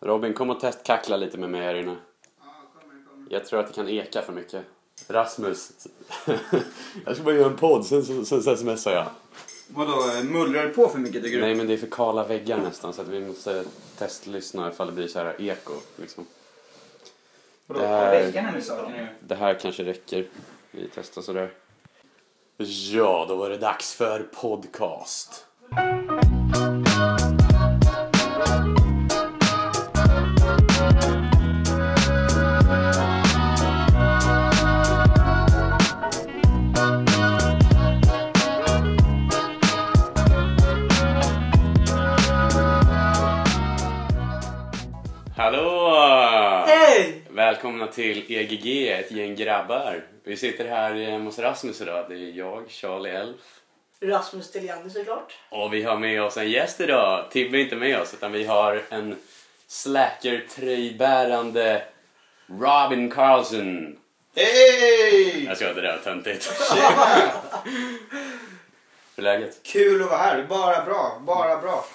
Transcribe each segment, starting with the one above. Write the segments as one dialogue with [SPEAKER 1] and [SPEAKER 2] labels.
[SPEAKER 1] Robin, kom och testkackla lite med mig här inne. Jag tror att det kan eka för mycket. Rasmus. jag ska bara göra en podd, sen, sen, sen smsar jag.
[SPEAKER 2] Vadå, eh, mullrar det på för mycket tycker
[SPEAKER 1] Nej,
[SPEAKER 2] du?
[SPEAKER 1] men det är för kala väggar nästan så att vi måste testlyssna ifall det blir så här eko. Liksom.
[SPEAKER 2] Vadå,
[SPEAKER 1] det
[SPEAKER 2] på
[SPEAKER 1] här-
[SPEAKER 2] väggarna nu saker nu?
[SPEAKER 1] Det här kanske räcker. Vi testar sådär. Ja, då var det dags för podcast. Hallå!
[SPEAKER 2] Hej!
[SPEAKER 1] Välkomna till EGG, ett gäng grabbar. Vi sitter här eh, hos Rasmus idag. Det är jag, Charlie Elf.
[SPEAKER 3] Rasmus Deliani såklart.
[SPEAKER 1] Och vi har med oss en gäst idag. Tibbe är inte med oss, utan vi har en slackertröjbärande Robin Carlson.
[SPEAKER 2] Hej!
[SPEAKER 1] Jag ska det där var töntigt. Hur är läget?
[SPEAKER 2] Kul att vara här, bara bra, bara bra.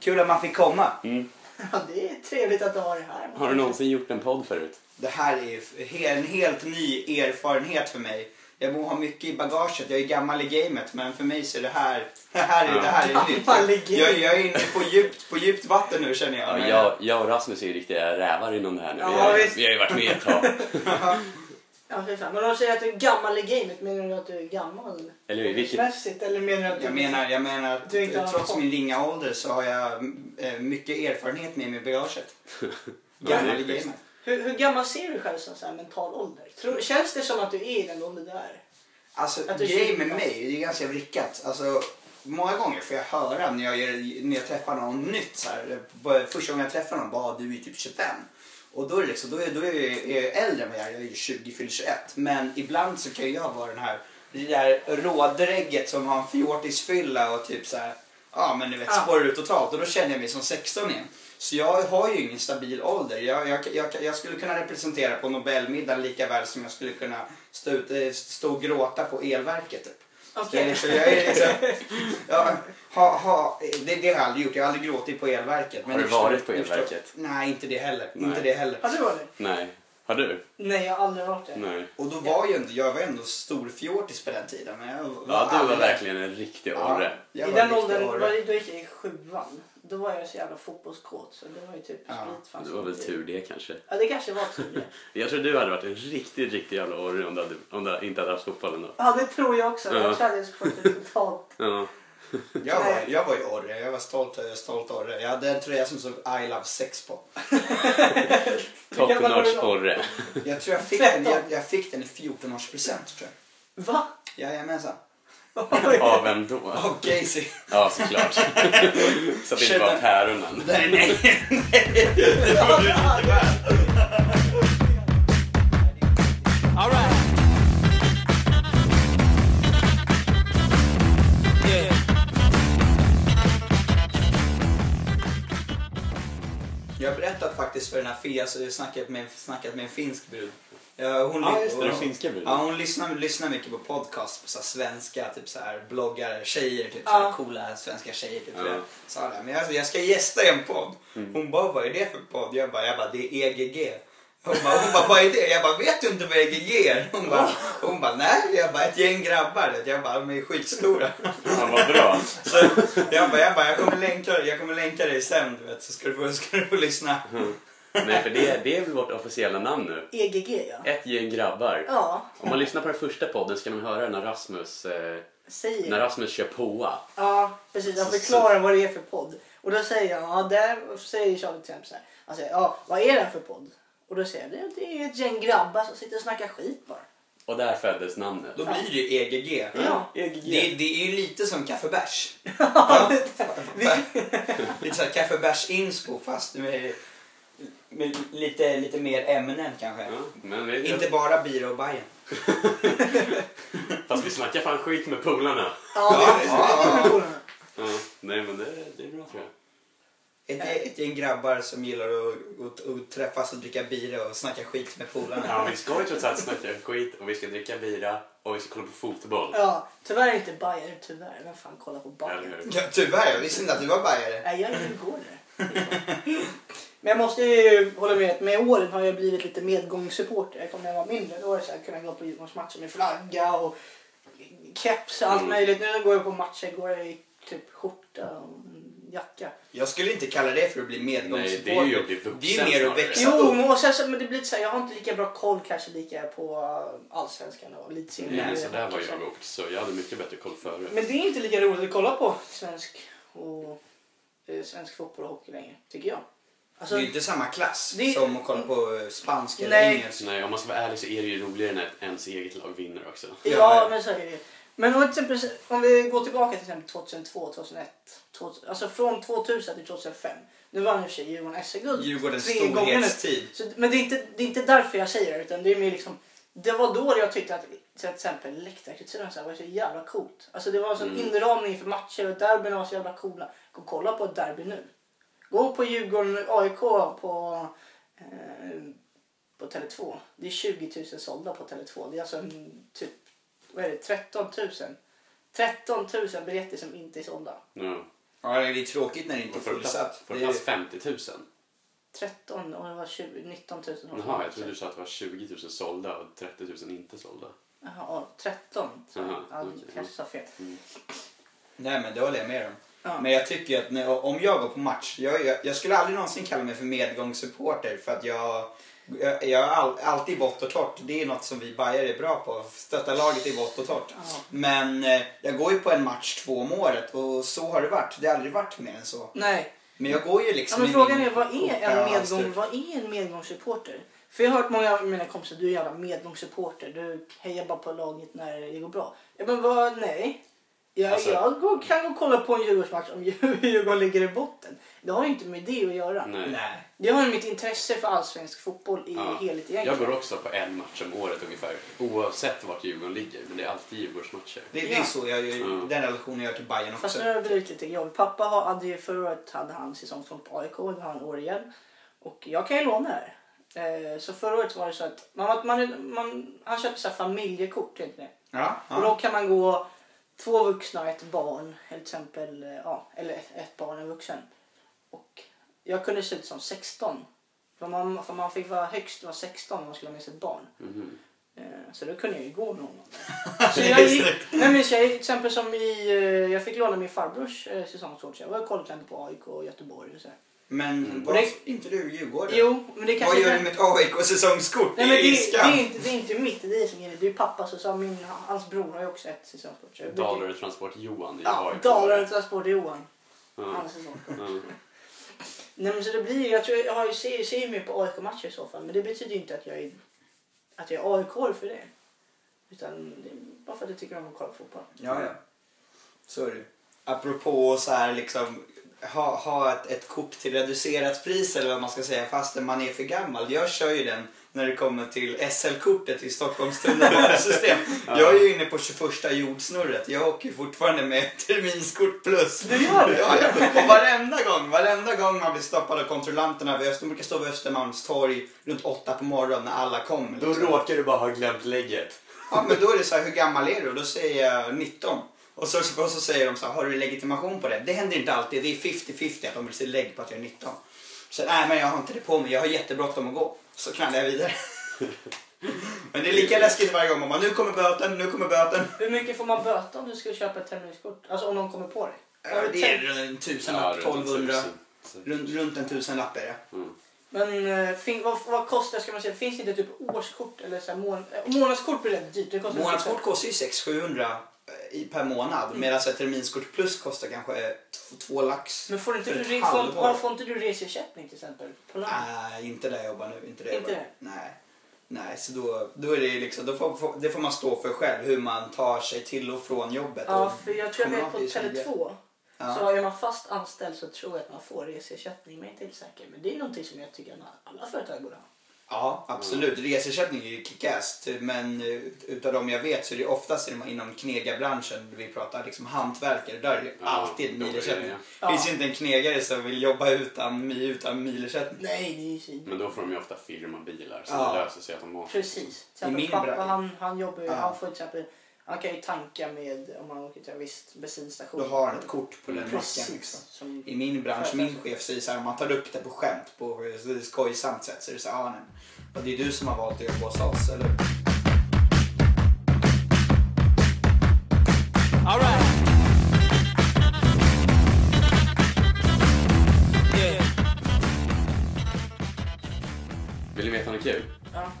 [SPEAKER 2] Kul att man fick komma.
[SPEAKER 1] Mm.
[SPEAKER 3] Ja, det är trevligt att du har det här.
[SPEAKER 1] Har du någonsin gjort en podd förut?
[SPEAKER 2] Det här är f- he- en helt ny erfarenhet för mig. Jag må ha mycket i bagaget, jag är gammal i gamet, men för mig så är det här, det här, är, det här är
[SPEAKER 3] Gammal i
[SPEAKER 2] nytt.
[SPEAKER 3] gamet.
[SPEAKER 2] Jag, jag är inne på djupt, på djupt vatten nu känner jag.
[SPEAKER 1] Ja,
[SPEAKER 2] Men-
[SPEAKER 1] jag, jag och Rasmus är ju riktiga rävar inom det här nu. Vi
[SPEAKER 3] Ja,
[SPEAKER 1] har,
[SPEAKER 3] visst.
[SPEAKER 1] vi har ju varit med ett tag.
[SPEAKER 3] Ja, för fan. Men de säger att du är gammal i gamet. Menar du att du är gammal?
[SPEAKER 1] Eller hur? Vilket-
[SPEAKER 3] Mässigt, eller menar du att du...
[SPEAKER 2] Jag menar, jag menar
[SPEAKER 3] Du är inte
[SPEAKER 2] att trots
[SPEAKER 3] alkohol.
[SPEAKER 2] min ringa ålder så har jag eh, mycket erfarenhet med mig i bagaget.
[SPEAKER 1] Ja, det är
[SPEAKER 2] Gammal i
[SPEAKER 1] schysst.
[SPEAKER 2] gamet.
[SPEAKER 3] Hur, hur gammal ser du själv som så här mental ålder? Tror, känns det som att du är i den åldern där?
[SPEAKER 2] Alltså
[SPEAKER 3] Att du
[SPEAKER 2] grejen med
[SPEAKER 3] kikar.
[SPEAKER 2] mig, det är ganska vrickat. Alltså, många gånger får jag höra när jag, gör, när jag träffar någon nytt, så här, bara- första gången jag träffar någon, bara du är typ 25. Och då är, det liksom, då är, då är, jag, är jag äldre än vad jag är, jag är ju 20, fyller 21. Men ibland så kan jag vara den här, det där rådrägget som har en fjortisfylla och typ så här, ja men du vet
[SPEAKER 3] Ah.
[SPEAKER 2] spårar ut totalt och då känner jag mig som 16 igen. Så jag har ju ingen stabil ålder. Jag, jag, jag, jag skulle kunna representera på Nobelmiddagen lika väl som jag skulle kunna stå, ut, eh, stå och gråta på elverket. Typ. Så jag, är
[SPEAKER 3] Okej.
[SPEAKER 2] liksom, jag är liksom, ja, ha, ha, det, det har jag aldrig gjort. Jag har aldrig gråtit på elverket.
[SPEAKER 1] Har du
[SPEAKER 2] ni förstår-
[SPEAKER 1] varit på
[SPEAKER 2] ni förstår-
[SPEAKER 1] elverket?
[SPEAKER 2] Nej, inte det heller.
[SPEAKER 1] Nej.
[SPEAKER 2] Inte det heller.
[SPEAKER 3] Har du varit Alltså, det?
[SPEAKER 1] Nej. Har du?
[SPEAKER 3] Nej, jag har aldrig varit det.
[SPEAKER 1] Nej.
[SPEAKER 2] Och då var ju ändå, jag var ändå stor fjortis på den tiden. Men jag var
[SPEAKER 1] Ja, du var
[SPEAKER 2] aldrig-
[SPEAKER 1] verkligen en riktig orre.
[SPEAKER 2] jag
[SPEAKER 3] I
[SPEAKER 2] var
[SPEAKER 3] den
[SPEAKER 2] riktigt
[SPEAKER 3] åldern,
[SPEAKER 2] orre.
[SPEAKER 3] var, det- då gick jag i sjuan. Då var jag så jävla fotbollskåt så det var ju typ
[SPEAKER 2] Ja,
[SPEAKER 3] sprit fanns
[SPEAKER 1] Det var väl
[SPEAKER 3] inte.
[SPEAKER 1] tur det kanske.
[SPEAKER 3] Ja, det kanske var tur det.
[SPEAKER 1] Jag tror du hade varit en riktigt, riktigt jävla orre om du, hade, om du inte hade haft fotbollen då.
[SPEAKER 3] Ja, det tror jag också.
[SPEAKER 1] Ja.
[SPEAKER 3] Jag tror att jag skulle fått det totalt.
[SPEAKER 1] Ja.
[SPEAKER 2] Jag var,
[SPEAKER 3] Nej.
[SPEAKER 2] jag var ju orre, jag var stolt, jag var stolt orre. Jag hade en tröja som stod I love sex på.
[SPEAKER 3] gammal var du
[SPEAKER 1] Toppnotch
[SPEAKER 3] då?
[SPEAKER 1] orre.
[SPEAKER 2] Jag tror jag fick den, jag, jag fick den i 14-årspresent tror
[SPEAKER 3] Va?
[SPEAKER 2] jag. Jajamensan.
[SPEAKER 1] Av vem då?
[SPEAKER 2] Och Gacy.
[SPEAKER 1] Ja, såklart. Så att det inte var päronen.
[SPEAKER 2] Nej, nej.
[SPEAKER 4] All right. Yeah.
[SPEAKER 2] Jag har berättat faktiskt för den här Fia, så jag har snackat med, snackat med en finsk brud. Ja, hon,
[SPEAKER 1] Ja, just det.
[SPEAKER 2] hon,
[SPEAKER 1] Den finska bruden.
[SPEAKER 2] Ja, hon lyssnar, lyssnar mycket på podcast på så här svenska typ så här, bloggare, tjejer, typ
[SPEAKER 3] Ja.
[SPEAKER 2] så här, coola svenska tjejer. Typ,
[SPEAKER 1] Ja.
[SPEAKER 2] ja. Sa det, men jag, jag ska gästa en podd. Hon bara, vad är det för podd? Jag bara, jag bara det är EGG. Hon bara, hon bara, vad är det? Jag bara, vet du inte vad EGG är? Hon bara, hon bara nej. Jag bara, ett gäng grabbar. vet du. Jag bara, de är skitstora.
[SPEAKER 1] Han var bra.
[SPEAKER 2] Så jag bara, jag, bara, jag, kommer länka, jag kommer länka dig sen, du vet, så ska du få, ska du få lyssna.
[SPEAKER 1] Nej, för det, det är väl vårt officiella namn nu.
[SPEAKER 3] EGG, E ja.
[SPEAKER 1] Ett gäng grabbar.
[SPEAKER 3] Ja,
[SPEAKER 1] Om man lyssnar på den första podden så kan man höra när Rasmus, eh,
[SPEAKER 3] säger
[SPEAKER 1] när Rasmus kör påa.
[SPEAKER 3] Ja, precis. Jag förklarar vad det är för podd. Och då säger jag, ja, där och så säger Charlie till exempel så här. Han säger, ja, vad är det för podd? Och då säger jag, det, det är ett gäng grabbar som sitter och snackar skit bara.
[SPEAKER 1] Och där föddes namnet.
[SPEAKER 2] Då blir det ju EGG.
[SPEAKER 3] Ja.
[SPEAKER 1] E
[SPEAKER 2] Det,
[SPEAKER 1] EGG.
[SPEAKER 2] det är ju lite som kaffebärs. lite såhär kaffebärs-inspo fast med, med lite, lite mer ämnen kanske.
[SPEAKER 1] Ja, men vi,
[SPEAKER 2] Inte bara bira och Bajen.
[SPEAKER 1] Fast vi snackar fan skit med polarna.
[SPEAKER 3] Ja, det är det.
[SPEAKER 1] Ja, nej men det, det är bra tror jag.
[SPEAKER 2] Ett, ett gäng grabbar som gillar att, att, att träffas och dricka bira och snacka skit med polarna.
[SPEAKER 1] Ja, vi ska ju trots allt snacka skit och vi ska dricka bira och vi ska kolla på fotboll.
[SPEAKER 3] Ja, tyvärr inte Bayer, tyvärr. Vem fan kollar på
[SPEAKER 1] Eller
[SPEAKER 3] Bayer?
[SPEAKER 1] hur?
[SPEAKER 2] Ja, tyvärr, jag visste inte att du var bajare.
[SPEAKER 3] Nej, jag är djurgårdare. Men jag måste ju hålla med att med åren har jag blivit lite medgångssupporter. Jag kommer när jag var mindre då var det så här, kunna gå på Djurgårdsmatcher med flagga och keps och allt
[SPEAKER 1] Mm.
[SPEAKER 3] möjligt. Nu går jag på matcher går jag i typ skjorta och jacka.
[SPEAKER 2] Jag skulle inte kalla det för att bli
[SPEAKER 1] Nej,
[SPEAKER 2] medgångssupporter.
[SPEAKER 1] det är ju att bli vuxen
[SPEAKER 2] Det är ju mer att
[SPEAKER 1] snarare.
[SPEAKER 2] växa
[SPEAKER 3] Jo,
[SPEAKER 2] upp.
[SPEAKER 3] men, och sen, så- men det blir lite så här, jag har inte lika bra koll kanske lika på allsvenskan och lite
[SPEAKER 1] Nej,
[SPEAKER 3] senare.
[SPEAKER 1] så där var jag också. Jag hade mycket bättre koll förut.
[SPEAKER 3] Men det är inte lika roligt att kolla på svensk, och, eh, svensk fotboll och hockey längre, tycker jag.
[SPEAKER 2] Det
[SPEAKER 3] Alltså,
[SPEAKER 2] är ju inte samma klass
[SPEAKER 3] Det-
[SPEAKER 2] som att kolla på eh, spanska eller
[SPEAKER 3] Nej.
[SPEAKER 2] engelska.
[SPEAKER 1] Nej, om man ska vara ärlig så är det ju roligare när ens eget lag vinner också.
[SPEAKER 2] Ja,
[SPEAKER 3] Ja,
[SPEAKER 2] ja.
[SPEAKER 3] men så är det ju. Men om, till exempel, om vi går tillbaka till exempel 2002, 2001. 2000, alltså från 2000 till 2005. Nu vann i och för sig Djurgården SM-guld
[SPEAKER 2] Djurgårdens
[SPEAKER 3] tre gånger nu.
[SPEAKER 2] storhetstid.
[SPEAKER 3] Så, men det är, inte, det är inte därför jag säger det. Utan det, är mer liksom, det var då jag tyckte att till exempel läktarkulturen så här var så jävla coolt. Alltså det var en sån
[SPEAKER 1] Mm.
[SPEAKER 3] inramning för matcher och derbyn var så jävla coola. Gå och kolla på ett derby nu. Gå på Djurgården-AIK på, eh, på Tele2. Det är 20 000 sålda på Tele2. Det är alltså en, typ vad är det, 13 000. 13 000 biljetter som inte är sålda.
[SPEAKER 1] Ja.
[SPEAKER 2] Ja, det är tråkigt när det inte är
[SPEAKER 1] Får det plats-
[SPEAKER 2] fullsatt.
[SPEAKER 1] får
[SPEAKER 2] Det
[SPEAKER 1] det
[SPEAKER 2] är,
[SPEAKER 1] plats 50 000?
[SPEAKER 3] 13 och det var 20, 19 000
[SPEAKER 1] Jaha, jag trodde du sa att det var 20 000 sålda och 30 000 inte sålda.
[SPEAKER 3] Jaha, ja, 13. Så,
[SPEAKER 1] Jaha,
[SPEAKER 3] ja,
[SPEAKER 1] okej,
[SPEAKER 3] jag kanske sa fel.
[SPEAKER 2] nej, men det håller jag med om.
[SPEAKER 3] Ja.
[SPEAKER 2] Men jag tycker att när, om jag går på match, jag, jag, jag skulle aldrig någonsin kalla mig för medgångssupporter för att jag, jag, jag har all, alltid vått och torrt. Det är något som vi bajare är bra på. Stötta laget i vått och torrt.
[SPEAKER 3] Ja.
[SPEAKER 2] Men eh, jag går ju på en match två om året och så har det varit. Det har aldrig varit mer än så.
[SPEAKER 3] Nej,
[SPEAKER 2] Men jag går ju
[SPEAKER 3] ja,
[SPEAKER 2] liksom...
[SPEAKER 3] men
[SPEAKER 2] i
[SPEAKER 3] frågan
[SPEAKER 2] min
[SPEAKER 3] är vad är
[SPEAKER 2] skjorta och
[SPEAKER 3] en, medgång,
[SPEAKER 2] halsduk.
[SPEAKER 3] vad är en medgångssupporter? För jag har hört många av mina kompisar, du är en jävla medgångssupporter, du hejar bara på laget när det går bra. Ja, men vad, nej. Jag,
[SPEAKER 1] Alltså-
[SPEAKER 3] jag går, kan gå och kolla på en Djurgårdsmatch om Djurgården ligger i botten. Det har ju inte med det att göra.
[SPEAKER 1] Nej.
[SPEAKER 2] Nej.
[SPEAKER 3] Det har ju mitt intresse för allsvensk fotboll i
[SPEAKER 1] Ja.
[SPEAKER 3] helhet
[SPEAKER 1] Jag
[SPEAKER 3] egentligen.
[SPEAKER 1] går också på en match om året ungefär. Oavsett vart Djurgården ligger. Men det är alltid Djurgårdsmatcher.
[SPEAKER 2] Det, det är
[SPEAKER 3] Ja.
[SPEAKER 2] så jag,
[SPEAKER 1] Mm.
[SPEAKER 2] den relationen jag har till Bayern
[SPEAKER 3] Fast
[SPEAKER 2] också.
[SPEAKER 3] nu har det blivit lite jobbigt. Pappa har- hade ju förra året hade han säsongskort på AIK, nu har han år igen. Och jag kan ju låna det här. Eh, Så förra året var det så att man, man, man, han köpte så här familjekort. Inte det?
[SPEAKER 2] Ja,
[SPEAKER 3] Och
[SPEAKER 2] ja.
[SPEAKER 3] då kan man gå två vuxna och ett barn. Eller, till exempel, eh, ja, eller ett, ett barn och en vuxen. Och jag kunde se ut som 16. För man, för man fick vara högst var 16 om man skulle ha med sig ett barn.
[SPEAKER 1] Mhm.
[SPEAKER 3] Eh, Så då kunde jag ju gå med honom. Så jag gick, nej men så jag, till exempel som i, eh, jag fick låna min farbrors eh, säsongskort så jag var ju kollklant på AIK och Göteborg och sådär.
[SPEAKER 2] Men
[SPEAKER 1] Mm.
[SPEAKER 2] var
[SPEAKER 3] Och
[SPEAKER 2] inte du Djurgården?
[SPEAKER 3] Jo, men det kanske
[SPEAKER 2] Vad gör du med ett AIK-säsongskort? Det
[SPEAKER 3] Nej men
[SPEAKER 2] är ju
[SPEAKER 3] det, det,
[SPEAKER 2] skam.
[SPEAKER 3] är inte, det är inte mitt, det är som är det. Det är pappa som sa, min, hans bror har ju också ett säsongskort. så jag brukar-
[SPEAKER 1] Dalarö Transport Johan i
[SPEAKER 3] Ja,
[SPEAKER 1] AIK.
[SPEAKER 3] Dalarö Transport Johan.
[SPEAKER 1] Ja.
[SPEAKER 3] Hans säsongskort.
[SPEAKER 1] Ja.
[SPEAKER 3] Nej men så det blir, jag tror jag har ju, ser, ser ju mer på AIK-matcher i så fall men det betyder ju inte att jag är, att jag är AIK för det. Utan det är bara för att jag tycker om att kolla på fotboll.
[SPEAKER 2] Ja, ja. Så är det. Apropå så här liksom ha, ha ett, ett kort till reducerat pris eller vad man ska säga fastän man är för gammal. Jag kör ju den när det kommer till SL-kortet i Stockholms tunnelbanesystem. Jag är ju inne på 21 jordsnurret. Jag åker ju fortfarande med terminskort plus.
[SPEAKER 3] Du gör det?
[SPEAKER 2] Ja, ja. Och varenda gång, varenda gång man blir stoppad av kontrollanterna. vid Öster- De brukar stå vid Östermalmstorg runt åtta på morgonen när alla kommer. liksom.
[SPEAKER 1] Då råkar du bara ha glömt lägget.
[SPEAKER 2] Ja, men då är det så här, hur gammal är du? Och då säger jag 19. Och så, och så säger de så här, har du legitimation på det? Det händer inte alltid, det är 50-50 att de vill se lägg på att jag är 19. Så nej, men jag har inte det på mig, jag har jättebråttom att gå. Så knallar jag vidare. men det är lika läskigt varje gång, man bara, nu kommer böten, nu kommer böten.
[SPEAKER 3] Hur mycket får man böta om du skulle köpa ett terminskort? Alltså om någon kommer på dig?
[SPEAKER 2] Ja, det är en tusenlapp,
[SPEAKER 1] runt
[SPEAKER 2] 1200.
[SPEAKER 1] 1000. Så-
[SPEAKER 2] Runt, runt en tusenlapp är det.
[SPEAKER 3] Men eh, fin, vad, vad kostar, ska man säga, finns det inte typ årskort eller så här mån, eh, månadskort blir rätt dyrt. Det kostar typ
[SPEAKER 2] Månadskort kostar ju 600-700 per månad medan ett terminskort plus kostar kanske eh, t- två lax.
[SPEAKER 3] Men får inte,
[SPEAKER 2] för
[SPEAKER 3] du,
[SPEAKER 2] ett
[SPEAKER 3] re-
[SPEAKER 2] halvår.
[SPEAKER 3] får, var, får inte du reseersättning till exempel? På land?
[SPEAKER 2] Nej, inte där jag jobbar nu. Inte där jag
[SPEAKER 3] Inte
[SPEAKER 2] jobbar.
[SPEAKER 3] det?
[SPEAKER 2] Nej. Nej, så då, då är det ju liksom, då får, får, det får man stå för själv hur man tar sig till och från jobbet.
[SPEAKER 3] ja,
[SPEAKER 2] och
[SPEAKER 3] för jag tror jag vet på
[SPEAKER 2] kommunalt är ju så
[SPEAKER 3] Tele2
[SPEAKER 2] Ja.
[SPEAKER 3] så är man fast anställd så tror jag att man får reseersättning. Men jag är inte helt säker. Men det är någonting som jag tycker att alla företag borde ha.
[SPEAKER 2] Ja, absolut. Reseersättning är ju kickast. Men eh, ut- utav de jag vet så är det oftast inom- inom knegarbranschen vi pratar liksom hantverkare. Där är det
[SPEAKER 1] Ja,
[SPEAKER 2] alltid
[SPEAKER 1] då är det
[SPEAKER 2] milersättning.
[SPEAKER 1] det.
[SPEAKER 3] Ja.
[SPEAKER 2] finns ju inte en knegare som vill jobba utan, mi- utan milersättning.
[SPEAKER 3] Nej, det är ju synd.
[SPEAKER 1] Men då får de ju ofta firmabilar så
[SPEAKER 2] Ja.
[SPEAKER 1] det löser sig automatiskt.
[SPEAKER 3] Precis. Till
[SPEAKER 2] I
[SPEAKER 3] exempel
[SPEAKER 2] min
[SPEAKER 3] pappa
[SPEAKER 2] bransch-
[SPEAKER 3] han, han jobbar ju,
[SPEAKER 2] Ja.
[SPEAKER 3] han får till exempel Han kan ju tanka med, om man åker till en viss bensinstation.
[SPEAKER 2] Då har han ett kort på den macken. Liksom.
[SPEAKER 3] Precis. Som,
[SPEAKER 2] I min bransch, min chef säger så här, man tar upp det på skämt på ett skojsamt sätt så är det så här, ah, nej. Och det är du som har valt att jobba hos oss, eller hur?
[SPEAKER 4] Alright. Yeah.
[SPEAKER 1] Vill ni veta något kul?
[SPEAKER 3] ja.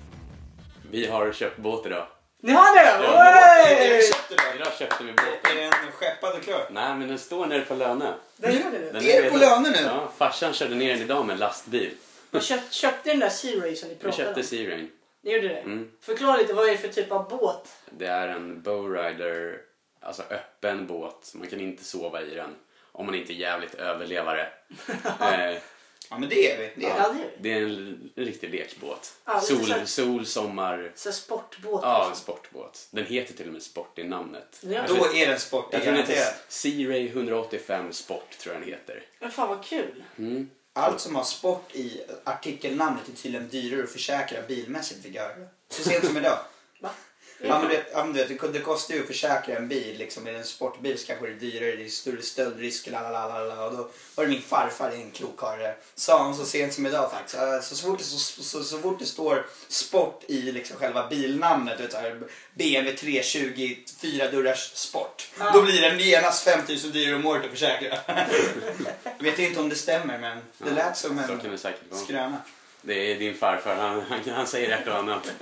[SPEAKER 1] Vi har köpt båt idag.
[SPEAKER 3] Ni har det?
[SPEAKER 1] Ja,
[SPEAKER 2] Är det
[SPEAKER 3] Oj!
[SPEAKER 2] köpt idag?
[SPEAKER 1] Idag köpte vi båten.
[SPEAKER 2] Är den skeppad och klar?
[SPEAKER 1] Nej, men den står nere på Lönö.
[SPEAKER 3] Den gjorde du.
[SPEAKER 1] Den
[SPEAKER 2] Är det på
[SPEAKER 1] redan-
[SPEAKER 2] Lönö nu?
[SPEAKER 1] Ja, farsan körde ner den idag med en lastbil.
[SPEAKER 3] Du köpt, köpte den där Sea Ray som ni
[SPEAKER 1] Vi
[SPEAKER 3] pratade
[SPEAKER 1] köpte
[SPEAKER 3] om?
[SPEAKER 1] Sea Rain.
[SPEAKER 3] Ni gjorde det?
[SPEAKER 1] Mm.
[SPEAKER 3] Förklara lite, vad är det för typ av båt?
[SPEAKER 1] Det är en bowrider, alltså öppen båt. Man kan inte sova i den om man inte är jävligt överlevare. eh,
[SPEAKER 2] Ja, men det är vi. Det är vi.
[SPEAKER 3] Ja, det
[SPEAKER 1] det
[SPEAKER 3] är det.
[SPEAKER 1] är en riktig lekbåt.
[SPEAKER 3] Ja, lite så här-
[SPEAKER 1] Sol, sol, sommar.
[SPEAKER 3] Så här sportbåt?
[SPEAKER 1] Ja, en
[SPEAKER 3] liksom.
[SPEAKER 1] sportbåt. Den heter till och med Sport i namnet.
[SPEAKER 3] Ja.
[SPEAKER 1] Jag tror-
[SPEAKER 2] Då är den sport, det
[SPEAKER 1] jag
[SPEAKER 2] är
[SPEAKER 1] tror den heter
[SPEAKER 2] garanterat.
[SPEAKER 1] Sea Ray 185 Sport, tror jag den heter.
[SPEAKER 3] Men fan vad kul.
[SPEAKER 1] Mm.
[SPEAKER 2] Allt som har sport i artikelnamnet är tydligen dyrare att försäkra bilmässigt fick jag höra. Så sent som idag.
[SPEAKER 3] Va?
[SPEAKER 2] Ja, men det, ja, men du vet, det kostar ju att försäkra en bil. Liksom, är det en sportbil så kanske det är dyrare, det är större stöldrisk. la, la, la, la, la. Och då var det min farfar, det är en klok karl, sa han så sent som idag faktiskt. Eh, Så, så, fort, det- så, så, så fort det står sport i liksom själva bilnamnet, du vet, så här, BMW 320 fyra dörrars sport,
[SPEAKER 3] Ja.
[SPEAKER 2] då blir den genast 5000 dyrare om året att försäkra. vet inte om det stämmer, men det lät som
[SPEAKER 1] Så kan
[SPEAKER 2] en
[SPEAKER 1] det säkert vara.
[SPEAKER 2] skröna.
[SPEAKER 1] Det är din farfar, han, han, han säger ett och annat.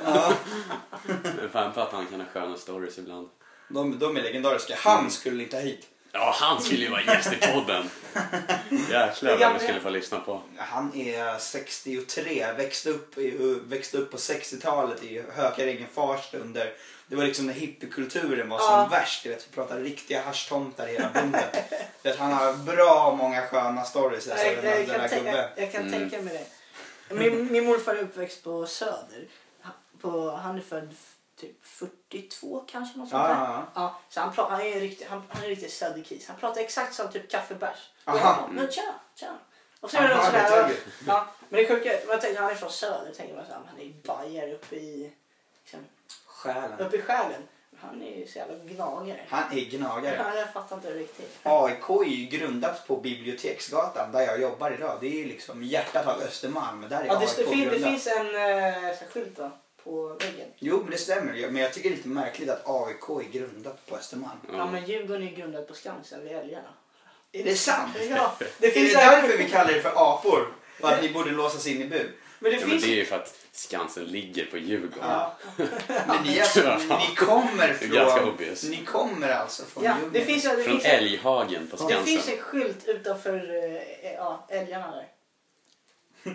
[SPEAKER 1] Men fan på att han kan ha sköna stories ibland.
[SPEAKER 2] De, de är legendariska. Han skulle inte hit.
[SPEAKER 1] Ja, han skulle ju vara gäst i podden. Jäklar vad vi skulle få lyssna på.
[SPEAKER 2] Han är 63, växte upp, i- växte upp på 60-talet i Hökarängen, Farsta under det var liksom när hippiekulturen var som
[SPEAKER 3] Ja.
[SPEAKER 2] värst. Du vet, vi pratar riktiga haschtomtar i hela bunten. Du vet, han har bra många sköna stories. Alltså,
[SPEAKER 3] Jag,
[SPEAKER 2] den,
[SPEAKER 3] jag,
[SPEAKER 2] här- den
[SPEAKER 3] kan,
[SPEAKER 2] här gubben.
[SPEAKER 3] tänka, jag kan
[SPEAKER 1] Mm.
[SPEAKER 3] tänka mig det. Min, min morfar är uppväxt på Söder. Han- På, han är född f- typ 42 kanske. Något sånt
[SPEAKER 2] Ja,
[SPEAKER 3] där.
[SPEAKER 2] ja, ja.
[SPEAKER 3] Ja, så han, pra- han är en riktig, han, han är en riktig söderkis. Han pratar exakt som typ kaffebärs.
[SPEAKER 2] Aha.
[SPEAKER 3] Aha. Men tjena, tjena. Och så är
[SPEAKER 2] Aha,
[SPEAKER 3] det
[SPEAKER 2] det
[SPEAKER 3] sådär,
[SPEAKER 2] tänker
[SPEAKER 3] ja, men det sjuka, man tänker han är från Söder. Tänker man så här, han är ju bajare uppe i, liksom,
[SPEAKER 2] Själen.
[SPEAKER 3] uppe i själen. Men Han är ju så jävla gnagare.
[SPEAKER 2] Han är gnagare.
[SPEAKER 3] Ja, jag fattar inte riktigt.
[SPEAKER 2] AIK är ju grundat på Biblioteksgatan där jag jobbar idag. Det är ju liksom hjärtat av Östermalm. Där är
[SPEAKER 3] Ja, det,
[SPEAKER 2] AIK
[SPEAKER 3] det, fin, det
[SPEAKER 2] grundat.
[SPEAKER 3] finns en eh, så här skylt va, på väggen.
[SPEAKER 2] Jo, men det stämmer. Jag- Men jag tycker det är lite märkligt att AIK är grundat på Östermalm.
[SPEAKER 3] Ja, men Djurgården är ju grundad på Skansen vid älgarna.
[SPEAKER 2] Är det sant?
[SPEAKER 3] Ja,
[SPEAKER 2] Det
[SPEAKER 3] det
[SPEAKER 2] finns
[SPEAKER 3] finns
[SPEAKER 2] är det därför vi kallar er för apor? Och att ni borde låsas in i bur?
[SPEAKER 3] Men det
[SPEAKER 1] Ja, men
[SPEAKER 3] finns
[SPEAKER 1] det är ju för att Skansen ligger på Djurgården.
[SPEAKER 2] Ja. Men ni, är alltså, ni kommer
[SPEAKER 1] Det är ganska
[SPEAKER 2] från...
[SPEAKER 1] obvious.
[SPEAKER 2] Ni kommer alltså från
[SPEAKER 3] Ja, det
[SPEAKER 2] Ljungby.
[SPEAKER 3] finns, det
[SPEAKER 1] Från
[SPEAKER 3] finns, en,
[SPEAKER 1] Älghagen på
[SPEAKER 3] det finns
[SPEAKER 1] Skansen.
[SPEAKER 3] en skylt utanför eh, ja, älgarna där.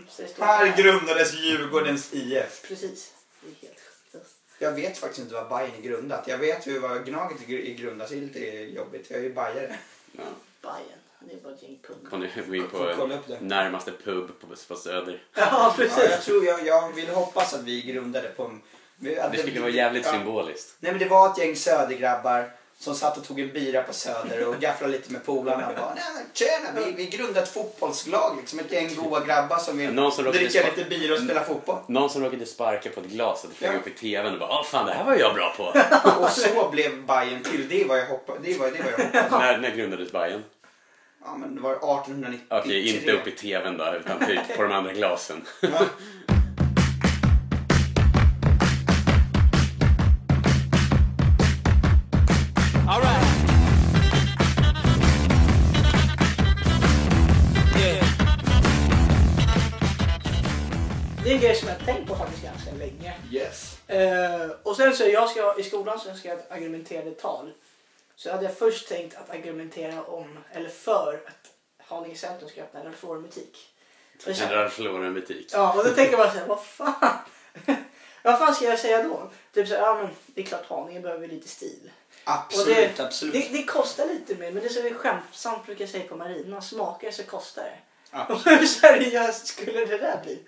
[SPEAKER 3] Så det står
[SPEAKER 2] Här grundades Djurgårdens IF.
[SPEAKER 3] Precis. Det är helt sjukt.
[SPEAKER 2] Jag vet faktiskt inte vad Bajen är grundat. Jag vet ju vad Gnaget är gr- är grundat. Det är lite jobbigt. Jag är ju bajare.
[SPEAKER 1] Ja.
[SPEAKER 3] Bajen. Det är bara ett gäng punk.
[SPEAKER 1] Kan du gå in
[SPEAKER 2] Får kolla
[SPEAKER 1] på
[SPEAKER 2] upp det.
[SPEAKER 1] närmaste pub på, på Söder.
[SPEAKER 3] Ja,
[SPEAKER 2] Ja,
[SPEAKER 3] precis.
[SPEAKER 2] jag, tror, jag, jag vill hoppas att vi grundade på en... att
[SPEAKER 1] Det skulle vara jävligt
[SPEAKER 2] ja.
[SPEAKER 1] symboliskt.
[SPEAKER 2] Nej men det var ett gäng södergrabbar som satt och tog en bira på söder och gafflade lite med polarna och bara nej, men tjena vi, vi grundade ett fotbollslag liksom. Ett gäng goa grabbar som vill
[SPEAKER 1] Någon som råkade
[SPEAKER 2] dricka
[SPEAKER 1] spa- Mm.
[SPEAKER 2] lite bira och spela fotboll.
[SPEAKER 1] Någon som råkade sparka på ett glas och det flög
[SPEAKER 2] Ja.
[SPEAKER 1] upp i tvn och bara Åh fan, det här var jag bra på.
[SPEAKER 2] Och så blev Bayern till. Det var jag hoppade. Det var, det var jag hoppade.
[SPEAKER 1] när, när grundades Bajen?
[SPEAKER 2] Ja men det var 1893.
[SPEAKER 1] Okej, inte upp i tvn då, utan typ på de andra glasen.
[SPEAKER 2] Ja.
[SPEAKER 4] Alright. Yeah.
[SPEAKER 3] Det är en grej som jag har tänkt på faktiskt ganska länge.
[SPEAKER 2] Yes.
[SPEAKER 3] Eh, och sen så jag ska, i skolan så ska jag argumentera ett tal. Så hade jag först tänkt att argumentera om, eller för, att Haninge centrum ska öppna en reformbutik. Och jag
[SPEAKER 1] En
[SPEAKER 3] kände-
[SPEAKER 1] Ralph Lauren-butik.
[SPEAKER 3] Ja, och då tänker jag bara såhär, vad fan? vad fan ska jag säga då? Typ såhär, ja men det är klart Haninge behöver lite stil. Och
[SPEAKER 2] Absolut,
[SPEAKER 3] det,
[SPEAKER 2] absolut.
[SPEAKER 3] Det, det kostar lite mer, men det är som vi skämtsamt brukar säga på Marina, smakar så kostar det.
[SPEAKER 2] Absolut.
[SPEAKER 3] Och hur seriöst skulle det där bli?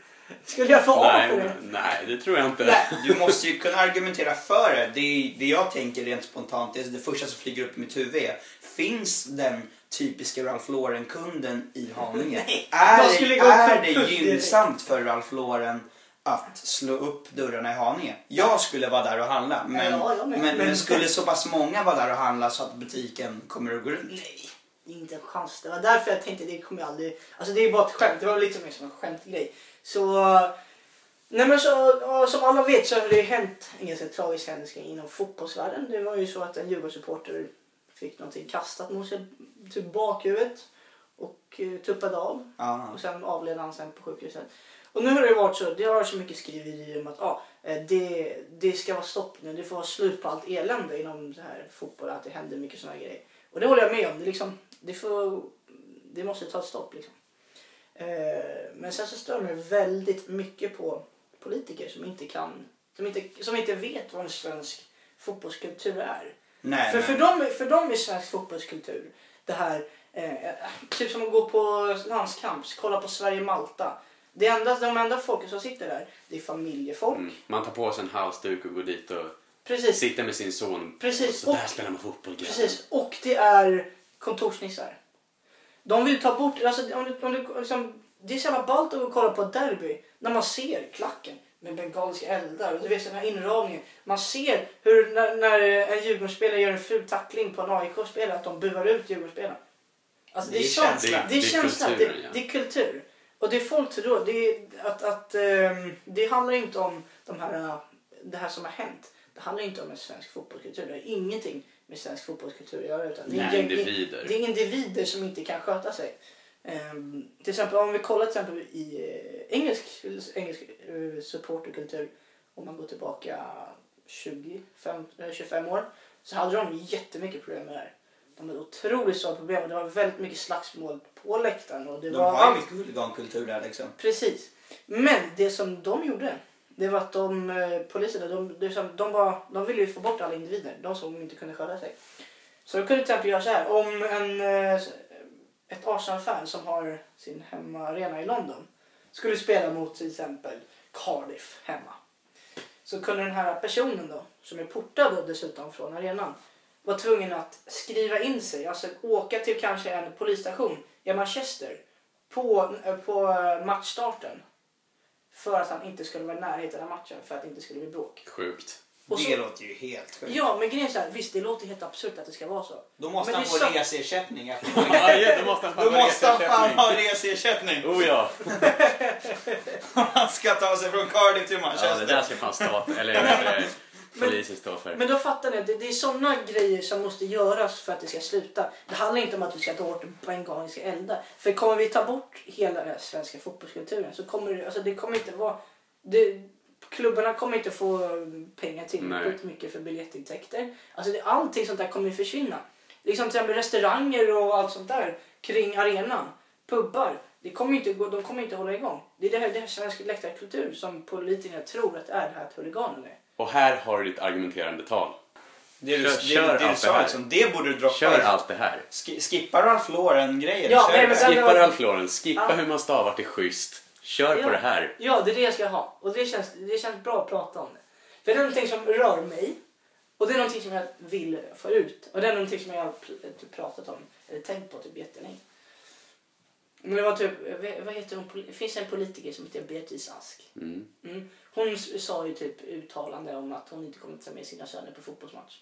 [SPEAKER 3] Skulle jag få A för
[SPEAKER 1] Nej,
[SPEAKER 3] det?
[SPEAKER 1] nej, det tror jag inte.
[SPEAKER 3] Nej.
[SPEAKER 2] Du måste ju kunna argumentera för det. Det, är- det jag tänker rent spontant, det, är det första som flyger upp i mitt huvud är, finns den typiska Ralph Lauren-kunden i Haninge?
[SPEAKER 3] Nej,
[SPEAKER 2] är
[SPEAKER 3] de skulle
[SPEAKER 2] det,
[SPEAKER 3] gå och
[SPEAKER 2] är
[SPEAKER 3] konkurs
[SPEAKER 2] det gynnsamt för Ralph Lauren att slå upp dörrarna i Haninge. Jag skulle vara där och handla, men,
[SPEAKER 3] Ja, jag med.
[SPEAKER 2] men, men skulle så pass många vara där och handla så att butiken kommer att gå runt?
[SPEAKER 3] Nej, inte en chans. Det var därför jag tänkte det kommer jag aldrig... Alltså det är bara ett skämt. Det var lite mer som en skämtgrej. Så... Nej men så, ja, som alla vet så har det ju hänt en ganska tragisk händelse inom fotbollsvärlden. Det var ju så att en Djurgårdssupporter fick någonting kastat mot sig, typ bakhuvudet. Och eh, tuppade av.
[SPEAKER 2] Ja.
[SPEAKER 3] Och sen avled han sen på sjukhuset. Och nu har det varit så, det har varit så mycket skriverier om att ah, eh, det, det ska vara stopp nu, det får vara slut på allt elände inom det här fotboll, att det händer mycket sådana grejer. Och det håller jag med om, det, liksom, det, får, det måste ta ett stopp. Liksom. Eh, men sen så stör mig väldigt mycket på politiker som inte kan, som inte, som inte vet vad en svensk fotbollskultur är.
[SPEAKER 2] Nej,
[SPEAKER 3] För,
[SPEAKER 2] men-
[SPEAKER 3] för, dem, för dem är svensk fotbollskultur det här, eh, typ som att gå på landskamp, kolla på Sverige-Malta. Det enda, de enda folket som sitter där, det är familjefolk.
[SPEAKER 1] Mm. Man tar på sig en halsduk och går dit och
[SPEAKER 3] Precis,
[SPEAKER 1] sitter med sin son.
[SPEAKER 3] Precis,
[SPEAKER 1] Och så där
[SPEAKER 3] och-
[SPEAKER 1] spelar man fotboll grabbar.
[SPEAKER 3] precis. Och det är kontorsnissar. De vill ta bort, alltså, om du, om du, liksom, det är så jävla ballt att gå och kolla på ett derby när man ser klacken med bengaliska eldar och du vet den här inramningen. Man ser hur när, när en Djurgårdsspelare gör en ful tackling på en AIK-spelare att de buar ut Djurgårdsspelarna. Alltså, det,
[SPEAKER 2] Det
[SPEAKER 3] är
[SPEAKER 2] är
[SPEAKER 3] sånt.
[SPEAKER 2] känsla.
[SPEAKER 3] Det, är
[SPEAKER 1] Det är
[SPEAKER 3] känsla,
[SPEAKER 1] kulturen,
[SPEAKER 3] det,
[SPEAKER 1] ja.
[SPEAKER 3] det är kultur. Och det är folk tror, det, är, att, att, ehm, det handlar inte om de här, eh, det här som har hänt. Det handlar inte om en svensk fotbollskultur. Det har ingenting med svensk fotbollskultur att göra. Utan det, är
[SPEAKER 1] Nej,
[SPEAKER 3] gäng-
[SPEAKER 1] individer.
[SPEAKER 3] det är individer som inte kan sköta sig. Ehm, till exempel om vi kollar till exempel i eh, engelsk, engelsk eh, supporterkultur. Om man går tillbaka 20, fem- eh, 25 år så hade de jättemycket problem med det här. De hade otroligt stora problem och det var väldigt mycket slagsmål på läktaren. Och det
[SPEAKER 2] De
[SPEAKER 3] var
[SPEAKER 2] har ju mycket huligankultur där liksom.
[SPEAKER 3] Precis. Men det som de gjorde, det var att de, eh, poliserna, de, det som, de, var, de ville ju få bort alla individer, de som inte kunde sköta sig. Så de kunde till exempel göra så här, om en, eh, ett Arsenal-fan som har sin hemmaarena i London skulle spela mot till exempel Cardiff hemma. Så kunde den här personen då, som är portad då dessutom från arenan, var tvungen att skriva in sig, alltså åka till kanske en polisstation i Manchester på, eh, på matchstarten. För att han inte skulle vara i närheten av matchen, för att det inte skulle bli bråk.
[SPEAKER 1] Sjukt.
[SPEAKER 3] Och så-
[SPEAKER 2] Det låter ju helt sjukt.
[SPEAKER 3] Ja, men grejen är så här, visst det låter helt absurt att det ska vara så.
[SPEAKER 2] Då måste
[SPEAKER 3] Men
[SPEAKER 2] han
[SPEAKER 3] det
[SPEAKER 2] få
[SPEAKER 3] är sant.
[SPEAKER 2] reseersättning. efter-
[SPEAKER 1] Ja, ja, då måste han
[SPEAKER 2] Då
[SPEAKER 1] fan ha
[SPEAKER 2] måste han fan
[SPEAKER 1] reseersättning.
[SPEAKER 2] ha reseersättning.
[SPEAKER 1] Oh ja.
[SPEAKER 2] Om han ska ta sig från Cardiff till
[SPEAKER 1] ja, det
[SPEAKER 2] Manchester.
[SPEAKER 1] där ska fan staten, eller eh, polisen stå för.
[SPEAKER 3] Men då fattar ni, att det, det är sådana grejer som måste göras för att det ska sluta. Det handlar inte om att vi ska ta bort bengaliska eldar. För kommer vi ta bort hela den här svenska fotbollskulturen så kommer det, alltså det kommer inte vara... Det, klubbarna kommer inte få pengar
[SPEAKER 1] Nej.
[SPEAKER 3] tillräckligt mycket för biljettintäkter. Alltså det, allting sånt där kommer ju försvinna. Liksom till exempel restauranger och allt sånt där kring arenan. Pubbar. Det kommer ju inte, gå- de kommer inte hålla igång. Det är det här, det här svenska läktarkultur som politikerna tror att det är det här att huliganerna är.
[SPEAKER 1] Och här har du ditt argumenterande tal.
[SPEAKER 2] Det du,
[SPEAKER 1] Kör- kör
[SPEAKER 2] det, det du
[SPEAKER 1] allt det
[SPEAKER 2] sa
[SPEAKER 1] här.
[SPEAKER 2] liksom, det borde du droppa.
[SPEAKER 1] Kör allt det här.
[SPEAKER 2] Sk- skippa Ralph Lauren-grejer.
[SPEAKER 3] Ja,
[SPEAKER 2] kör
[SPEAKER 3] nej, men
[SPEAKER 2] det.
[SPEAKER 3] sen-
[SPEAKER 1] Skippa Ralph Lauren, skippa
[SPEAKER 3] Ja.
[SPEAKER 1] hur man stavar till schysst. Kör på det här.
[SPEAKER 3] Ja, det är det jag ska ha. Och det känns, det känns bra att prata om det. För det är någonting som rör mig. Och det är någonting som jag vill få ut. Och det är någonting som jag har pr- typ pratat om, eller tänkt på typ jättelänge. Men det var typ, vad- vad heter hon, poli- finns det en politiker som heter Beatrice Ask?
[SPEAKER 1] Mm.
[SPEAKER 3] Mm. Hon s- sa ju typ uttalande om att hon inte kommer ta med sina söner på fotbollsmatch.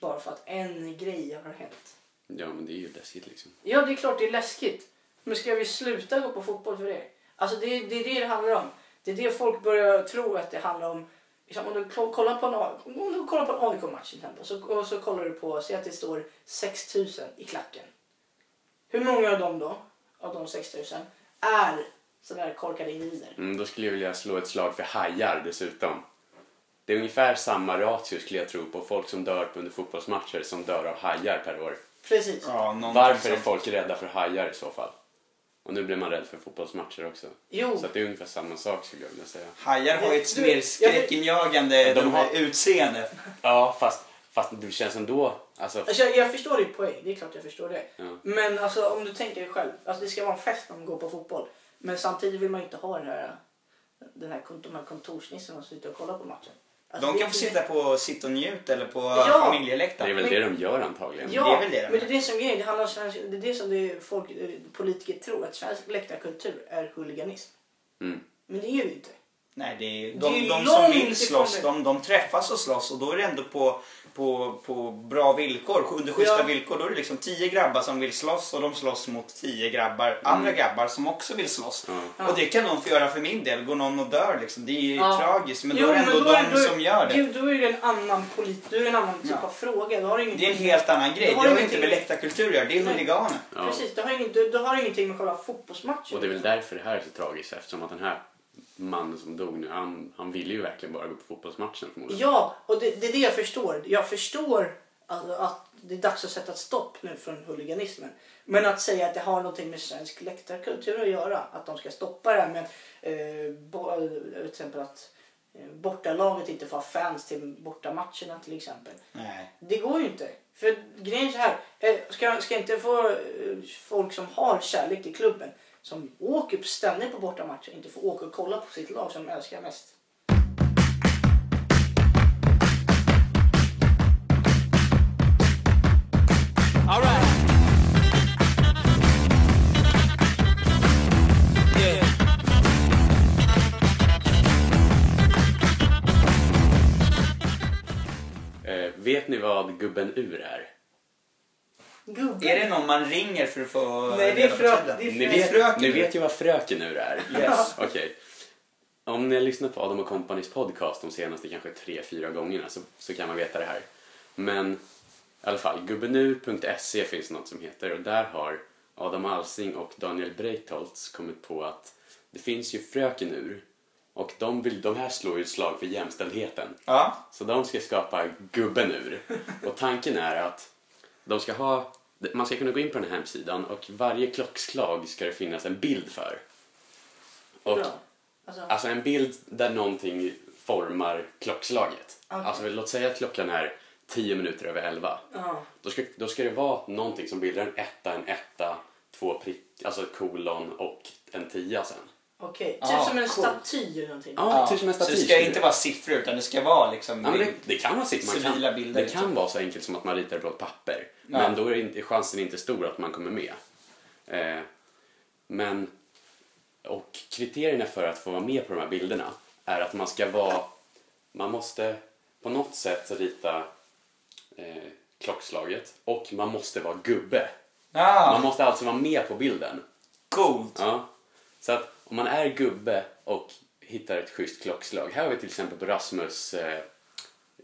[SPEAKER 3] Bara för att en grej har hänt.
[SPEAKER 1] Ja, men det är ju läskigt liksom.
[SPEAKER 3] Ja, det är klart det är läskigt. Men ska vi sluta gå på fotboll för det? Alltså det, är- det är det det handlar om. Det är det folk börjar tro att det handlar om. Liksom, om, du klo- kollar på en, A- om du kollar på en AIK-match till exempel så, och så kollar du på, säg att det står 6000 i klacken. Hur många av dem då, av de 6000, är sådana här korkade individer?
[SPEAKER 1] Mm, då skulle jag vilja slå ett slag för hajar dessutom. Det är ungefär samma ratio skulle jag tro på folk som dör under fotbollsmatcher som dör av hajar per år.
[SPEAKER 3] Precis.
[SPEAKER 2] Ja, någonting
[SPEAKER 1] Varför är
[SPEAKER 2] sånt.
[SPEAKER 1] folk rädda för hajar i så fall? Och nu blir man rädd för fotbollsmatcher också.
[SPEAKER 3] Jo,
[SPEAKER 1] Så att det är ungefär samma sak skulle jag vilja säga.
[SPEAKER 2] Hajar har ju ett
[SPEAKER 3] Du-
[SPEAKER 2] mer
[SPEAKER 3] jag-
[SPEAKER 2] skräckinjagande
[SPEAKER 1] De har-
[SPEAKER 2] utseende.
[SPEAKER 1] Ja, fast, fast det känns ändå... Alltså,
[SPEAKER 3] alltså, jag, jag förstår din poäng, det är klart jag förstår det.
[SPEAKER 1] ja.
[SPEAKER 3] Men alltså om du tänker dig själv, alltså, det ska vara en fest när man går på fotboll. Men samtidigt vill man inte ha den här, den här, kont- de här kontorsnissarna som sitter och kollar på matchen. Alltså,
[SPEAKER 2] De
[SPEAKER 3] det-
[SPEAKER 2] kan få sitta på sit och njut eller på
[SPEAKER 3] Ja.
[SPEAKER 1] Det är
[SPEAKER 2] familjeläktaren.
[SPEAKER 1] väl det de gör antagligen.
[SPEAKER 3] Ja,
[SPEAKER 2] Det är väl det de
[SPEAKER 3] men det
[SPEAKER 2] är.
[SPEAKER 3] är det som är grejen. Det, handlar om svensk, det är det som det är folk, eh, politiker tror, att svensk läktarkultur är huliganism.
[SPEAKER 1] Mm.
[SPEAKER 3] Men det är det ju inte.
[SPEAKER 2] Nej, det är,
[SPEAKER 3] Det är
[SPEAKER 2] de,
[SPEAKER 3] ju
[SPEAKER 2] de som
[SPEAKER 3] långt
[SPEAKER 2] vill
[SPEAKER 3] ifrån
[SPEAKER 2] slåss,
[SPEAKER 3] det.
[SPEAKER 2] de, de träffas och slåss och då är det ändå på, på, på bra villkor, under schyssta
[SPEAKER 3] Ja.
[SPEAKER 2] villkor. Då är det liksom tio grabbar som vill slåss och de slåss mot tio grabbar, andra
[SPEAKER 1] Mm.
[SPEAKER 2] grabbar som också vill slåss.
[SPEAKER 3] Ja.
[SPEAKER 2] Och det kan någon få göra för min del, går någon och dör liksom. Det är ju
[SPEAKER 3] Ja.
[SPEAKER 2] tragiskt, men då är det ändå de
[SPEAKER 3] då-
[SPEAKER 2] som gör det.
[SPEAKER 3] Gud, då är det en annan polit, då är det en annan typ
[SPEAKER 2] Ja.
[SPEAKER 3] av fråga. Då har inget,
[SPEAKER 2] Det är en helt annan grej.
[SPEAKER 3] Det
[SPEAKER 2] Det
[SPEAKER 3] har
[SPEAKER 2] har ju
[SPEAKER 3] ingenting-
[SPEAKER 2] inte med läktarkultur att göra, det är
[SPEAKER 3] Nej.
[SPEAKER 2] huliganer.
[SPEAKER 1] Ja.
[SPEAKER 3] Precis, det har, inget, det, det har ingenting med själva fotbollsmatchen
[SPEAKER 1] Och det är väl därför det här är så tragiskt eftersom att den här mannen som dog nu, han, han ville ju verkligen bara gå på fotbollsmatchen förmodligen.
[SPEAKER 3] Ja, och det, det är det jag förstår. Jag förstår alltså att det är dags att sätta ett stopp nu från huliganismen. Men att säga att det har någonting med svensk läktarkultur att göra, att de ska stoppa det här med eh, bo, eh, till exempel att eh, bortalaget inte får ha fans till bortamatcherna till exempel.
[SPEAKER 2] Nej.
[SPEAKER 3] Det går ju inte. För grejen är så här, eh, ska, ska inte få eh, folk som har kärlek till klubben, som åker ständigt på bortamatcher, inte få åka och kolla på sitt lag som de älskar mest.
[SPEAKER 4] Alright. Yeah.
[SPEAKER 1] Eh, vet ni vad gubben ur är?
[SPEAKER 3] Gubben.
[SPEAKER 2] Är det någon man ringer för att få
[SPEAKER 3] Nej, det är
[SPEAKER 2] reda på
[SPEAKER 3] frö-
[SPEAKER 2] tiden?
[SPEAKER 3] det är
[SPEAKER 1] Ni
[SPEAKER 3] frö-
[SPEAKER 1] vet,
[SPEAKER 2] Fröken
[SPEAKER 1] ni
[SPEAKER 2] Ur.
[SPEAKER 1] vet ju vad fröken ur är?
[SPEAKER 2] Yes.
[SPEAKER 1] Okej. Om ni har lyssnat på Adam och Companys podcast de senaste kanske tre, fyra gångerna så, så kan man veta det här. Men i alla fall, gubbenur.se finns något som heter och där har Adam Alsing och Daniel Breitholtz kommit på att det finns ju fröken ur och de, vill, de här slår ju ett slag för jämställdheten.
[SPEAKER 2] Ja.
[SPEAKER 1] Så de ska skapa gubben ur. Och tanken är att de ska ha, man ska kunna gå in på den här hemsidan och varje klockslag ska det finnas en bild för. Och,
[SPEAKER 3] Bra. Alltså,
[SPEAKER 1] Alltså en bild där någonting formar klockslaget.
[SPEAKER 3] Okej.
[SPEAKER 1] Alltså låt säga att klockan är 10 minuter över 11.
[SPEAKER 3] ja.
[SPEAKER 1] Då ska, då ska det vara någonting som bildar en etta, en etta, två prick, alltså ett kolon och en tia sen.
[SPEAKER 3] Okej,
[SPEAKER 2] Ah,
[SPEAKER 3] typ som en
[SPEAKER 2] cool.
[SPEAKER 3] staty eller någonting.
[SPEAKER 1] Ja,
[SPEAKER 2] Ja,
[SPEAKER 1] typ som en
[SPEAKER 2] så
[SPEAKER 1] staty.
[SPEAKER 2] det ska
[SPEAKER 1] skulle
[SPEAKER 2] inte vara siffror utan det ska vara liksom...
[SPEAKER 1] Ja, men det, det kan vara sitt. Man
[SPEAKER 2] Civila
[SPEAKER 1] kan,
[SPEAKER 2] bilder,
[SPEAKER 1] det kan
[SPEAKER 2] liksom.
[SPEAKER 1] vara så enkelt som att man ritar det på ett papper.
[SPEAKER 2] Ja.
[SPEAKER 1] Men då är inte- chansen inte stor att man kommer med. Eh, men, och kriterierna för att få vara med på de här bilderna är att man ska vara, man måste på något sätt rita eh, klockslaget och man måste vara gubbe. Man
[SPEAKER 2] Ja,
[SPEAKER 1] måste alltså vara med på bilden.
[SPEAKER 2] coolt.
[SPEAKER 1] Ja. Så att om man är gubbe och hittar ett schysst klockslag. Här har vi till exempel på Rasmus eh,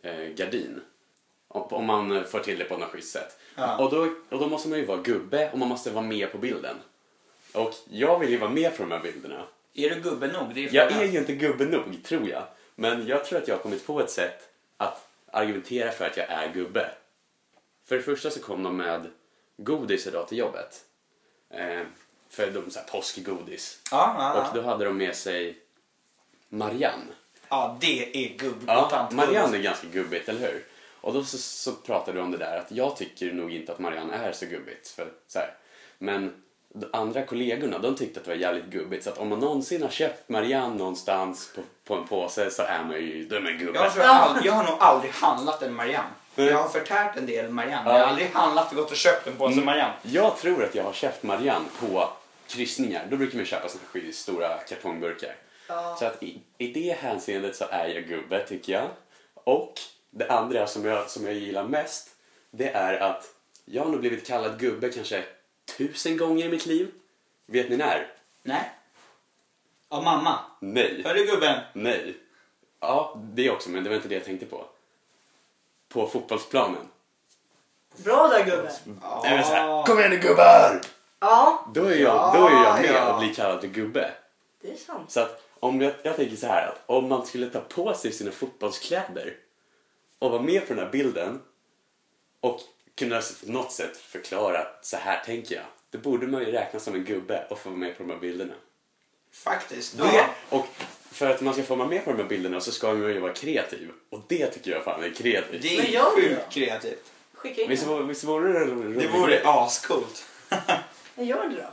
[SPEAKER 1] eh, gardin. Om, om man eh, får till det på något schysst sätt.
[SPEAKER 2] Ja.
[SPEAKER 1] Och, då, och då måste man ju vara gubbe och man måste vara med på bilden. Och jag vill ju vara med på de här bilderna.
[SPEAKER 2] Är du gubbe nog? Det är
[SPEAKER 1] Jag är
[SPEAKER 2] frågan.
[SPEAKER 1] ju inte gubbe nog, tror jag. Men jag tror att jag har kommit på ett sätt att argumentera för att jag är gubbe. För det första så kom de med godis idag till jobbet. Eh, för de så här påskgodis.
[SPEAKER 2] Ja, ja, ja.
[SPEAKER 1] Och då hade de med sig Marianne.
[SPEAKER 2] ja, det är gubbe och
[SPEAKER 1] Ja,
[SPEAKER 2] tant.
[SPEAKER 1] Marianne är ganska gubbigt, eller hur? Och då så, så pratade vi om det där att jag tycker nog inte att Marianne är så gubbigt. För, så här. Men de andra kollegorna de tyckte att det var jävligt gubbigt. Så att om man någonsin har köpt Marianne någonstans på, på en påse så är man ju dum en gubbe.
[SPEAKER 2] Jag, tror jag, ald- jag har nog aldrig handlat en Marianne.
[SPEAKER 1] Mm.
[SPEAKER 2] Jag har förtärt en del Marianne. men Jag har aldrig handlat och gått och köpt en
[SPEAKER 1] Mm.
[SPEAKER 2] påse Marianne.
[SPEAKER 1] Jag tror att jag har köpt Marianne på kryssningar. Då brukar man köpa såna här sk- stora kartongburkar. Så att i, i det hänseendet så är jag gubbe tycker jag. Och det andra som jag, som jag gillar mest det är att jag har nog blivit kallad gubbe kanske tusen gånger i mitt liv. Vet ni när?
[SPEAKER 2] Nej. Av mamma.
[SPEAKER 1] Nej.
[SPEAKER 2] Hör du gubben?
[SPEAKER 1] Nej. Ja, det också, men det var inte det jag tänkte på. På fotbollsplanen.
[SPEAKER 3] Bra där gubben!
[SPEAKER 1] Det är väl så här,
[SPEAKER 2] Ah.
[SPEAKER 1] Kom igen nu gubbar!
[SPEAKER 3] Ja,
[SPEAKER 1] Då är jag, då är jag med
[SPEAKER 2] Ja, ja.
[SPEAKER 1] och blir kallad för gubbe.
[SPEAKER 3] det är sant.
[SPEAKER 1] Så att om jag, jag tänker så här att om man skulle ta på sig sina fotbollskläder och vara med på den här bilden och kunna s- på något sätt förklara att så här tänker jag. Då borde man ju räknas som en gubbe och få vara med på de här bilderna.
[SPEAKER 2] Faktiskt.
[SPEAKER 1] Det, Och för att man ska få vara med på de här bilderna så ska man ju vara kreativ. Och det tycker jag fan är kreativt.
[SPEAKER 2] Det
[SPEAKER 3] Men
[SPEAKER 2] är
[SPEAKER 3] gör vi
[SPEAKER 2] sjukt
[SPEAKER 3] då?
[SPEAKER 2] kreativt.
[SPEAKER 3] Skicka in
[SPEAKER 1] Visst,
[SPEAKER 3] den.
[SPEAKER 1] vore- visst vore det en rolig
[SPEAKER 2] Det vore
[SPEAKER 1] grej?
[SPEAKER 2] ascoolt.
[SPEAKER 3] Men Gör det då.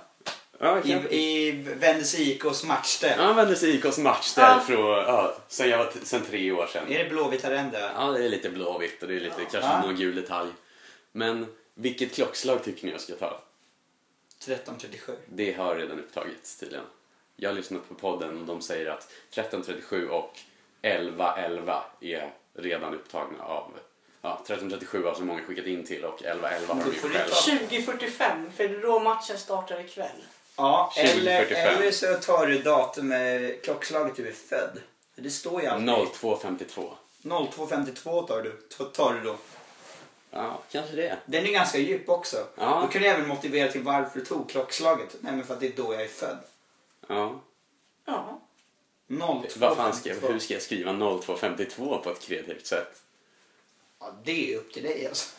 [SPEAKER 1] Ja,
[SPEAKER 2] I,
[SPEAKER 1] kan-
[SPEAKER 2] i Vännäs IKs matchställ.
[SPEAKER 1] Jag använder sig IKs match där
[SPEAKER 3] Ja.
[SPEAKER 1] från, ja, sen jag var t- sen tre år sedan.
[SPEAKER 2] Är det blåvita ränder?
[SPEAKER 1] Ja, det är lite blåvitt och det är lite kanske
[SPEAKER 2] Ja.
[SPEAKER 1] någon gul detalj. Men vilket klockslag tycker ni jag ska ta?
[SPEAKER 2] 13.37.
[SPEAKER 1] Det har redan upptagits tydligen. jag har lyssnat på podden och de säger att 1337 och 1111 är redan upptagna av Ja, 1337 har så många skickat in till och 1111 har de
[SPEAKER 2] Du
[SPEAKER 1] gjort
[SPEAKER 2] får
[SPEAKER 1] själva.
[SPEAKER 2] inte-
[SPEAKER 3] 20.45, för då matchen startar ikväll.
[SPEAKER 2] Ja, eller,
[SPEAKER 1] 2045.
[SPEAKER 2] eller så tar du datum, eh, klockslaget du är född. Det står ju alltid.
[SPEAKER 1] 0252.
[SPEAKER 2] 02.52 tar du, t- tar du då.
[SPEAKER 1] Ja, kanske det.
[SPEAKER 2] Den är ganska djup också.
[SPEAKER 1] Ja.
[SPEAKER 2] Då kan jag även motivera till varför du tog klockslaget. Nej, men för att det är då jag är född.
[SPEAKER 1] Ja.
[SPEAKER 3] Ja.
[SPEAKER 2] 02.52.
[SPEAKER 1] Vad fan ska, hur ska jag skriva 0252 på ett kreativt sätt?
[SPEAKER 2] Ja, det är upp till dig alltså.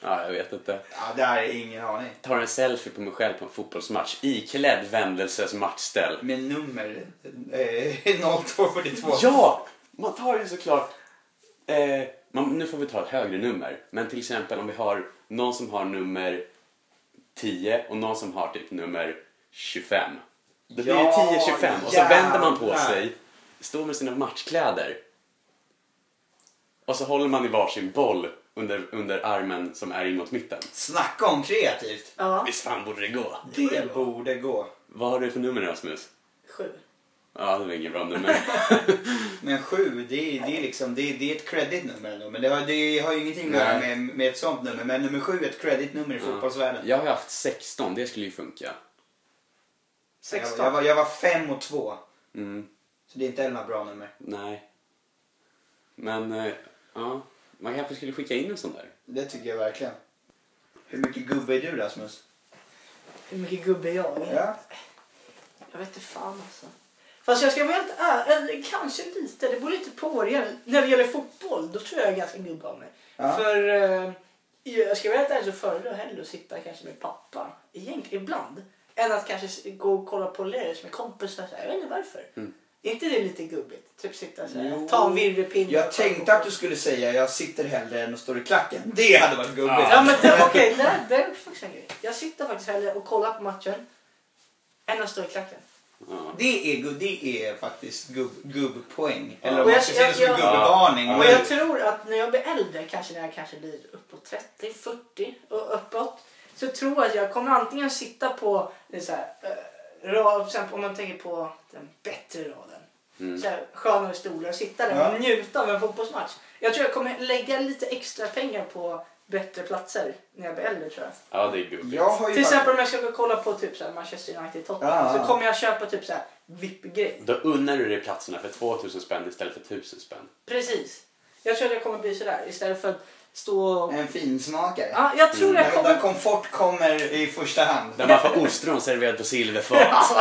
[SPEAKER 1] Ja, jag vet inte.
[SPEAKER 2] Ja, det här är ingen aning.
[SPEAKER 1] Tar en selfie på mig själv på en fotbollsmatch iklädd Vendelses matchställ.
[SPEAKER 2] Med nummer eh, 0242.
[SPEAKER 1] Ja! Man tar ju såklart... Eh, man, nu får vi ta ett högre nummer. Men till exempel om vi har någon som har nummer 10 och någon som har typ nummer 25. Det blir
[SPEAKER 2] Ja,
[SPEAKER 1] ju 10-25 och så
[SPEAKER 2] jävlar.
[SPEAKER 1] vänder man på sig, står med sina matchkläder och så håller man i varsin boll under, under armen som är in mot mitten.
[SPEAKER 2] Snacka om kreativt.
[SPEAKER 3] Ja.
[SPEAKER 1] Visst fan borde det gå?
[SPEAKER 2] Det borde gå.
[SPEAKER 1] Vad har du för nummer Rasmus?
[SPEAKER 3] Sju.
[SPEAKER 1] Ja, det var inget bra nummer.
[SPEAKER 2] Men sju, det är, det är, liksom, det är, det är ett creditnummer ändå. Men det har, det har ju ingenting att göra
[SPEAKER 1] Nej.
[SPEAKER 2] med, med ett sånt nummer. Men nummer sju är ett creditnummer i fotbollsvärlden.
[SPEAKER 1] Jag har ju haft 16, det skulle ju funka.
[SPEAKER 2] Jag,
[SPEAKER 3] 16.
[SPEAKER 2] jag, var, jag var fem och två.
[SPEAKER 1] Mm.
[SPEAKER 2] Så det är inte heller några bra nummer.
[SPEAKER 1] Nej. Men, eh, ja. Man kanske skulle skicka in en sån där.
[SPEAKER 2] Det tycker jag verkligen. Hur mycket gubbe är du Rasmus?
[SPEAKER 3] Hur mycket gubbe är jag?
[SPEAKER 2] Ja.
[SPEAKER 3] Jag vet inte fan alltså. Fast jag ska vara helt ärlig, eh, kanske lite. Det beror lite på vad det gäller. När det gäller fotboll, då tror jag jag är ganska gubbe av mig.
[SPEAKER 2] Ja.
[SPEAKER 3] För eh, jag ska vara helt ärlig så föredrar jag hellre att sitta kanske med pappa, egentligen, ibland. Än att kanske s- gå och kolla på Lerus med kompisar. Så här. Jag vet inte varför. Är inte det lite gubbigt? Typ sitta så här,
[SPEAKER 2] Mm. Jo.
[SPEAKER 3] ta en virrepinne.
[SPEAKER 2] Jag tänkte att du skulle säga jag sitter hellre än och står i klacken. Det hade varit gubbigt.
[SPEAKER 3] Ja men det- okej, det, det är faktiskt en grej. Jag sitter faktiskt hellre och kollar på matchen än att stå i klacken.
[SPEAKER 1] Ja.
[SPEAKER 2] Det är, gu- det är faktiskt gubb, gubbpoäng. Eller
[SPEAKER 1] Och
[SPEAKER 2] om man
[SPEAKER 3] jag-
[SPEAKER 2] ska se det
[SPEAKER 3] jag-
[SPEAKER 2] som en
[SPEAKER 3] jag-
[SPEAKER 2] gubbvarning.
[SPEAKER 1] Ja.
[SPEAKER 3] Och jag tror att när jag blir äldre, kanske när jag kanske blir uppåt 30, 40 och uppåt. Så tror jag att jag kommer antingen sitta på, det är så här, eh, rad, till exempel om man tänker på den bättre raden. Så här, skönare stolar och sitta där
[SPEAKER 2] Mm. Ja.
[SPEAKER 3] och njuta av en fotbollsmatch. Jag tror jag kommer lägga lite extra pengar på bättre platser när jag blir äldre tror jag.
[SPEAKER 1] Ja, det är gubbigt.
[SPEAKER 2] Jag har ju
[SPEAKER 3] Till
[SPEAKER 2] varit-
[SPEAKER 3] exempel om jag ska gå och kolla på typ så här Manchester United Tottenham
[SPEAKER 2] Ja.
[SPEAKER 3] så kommer jag köpa typ så här VIP-grej.
[SPEAKER 1] Då unnar du dig platserna för 2000 spänn istället för 1000 spänn.
[SPEAKER 3] Precis. Jag tror att jag kommer bli sådär istället för att stå och...
[SPEAKER 2] En finsmakare.
[SPEAKER 3] Ja, jag tror jag
[SPEAKER 2] Mm. Där, där
[SPEAKER 3] kommer...
[SPEAKER 2] komfort kommer i första hand.
[SPEAKER 1] Där man får ostron serverat på silverfat.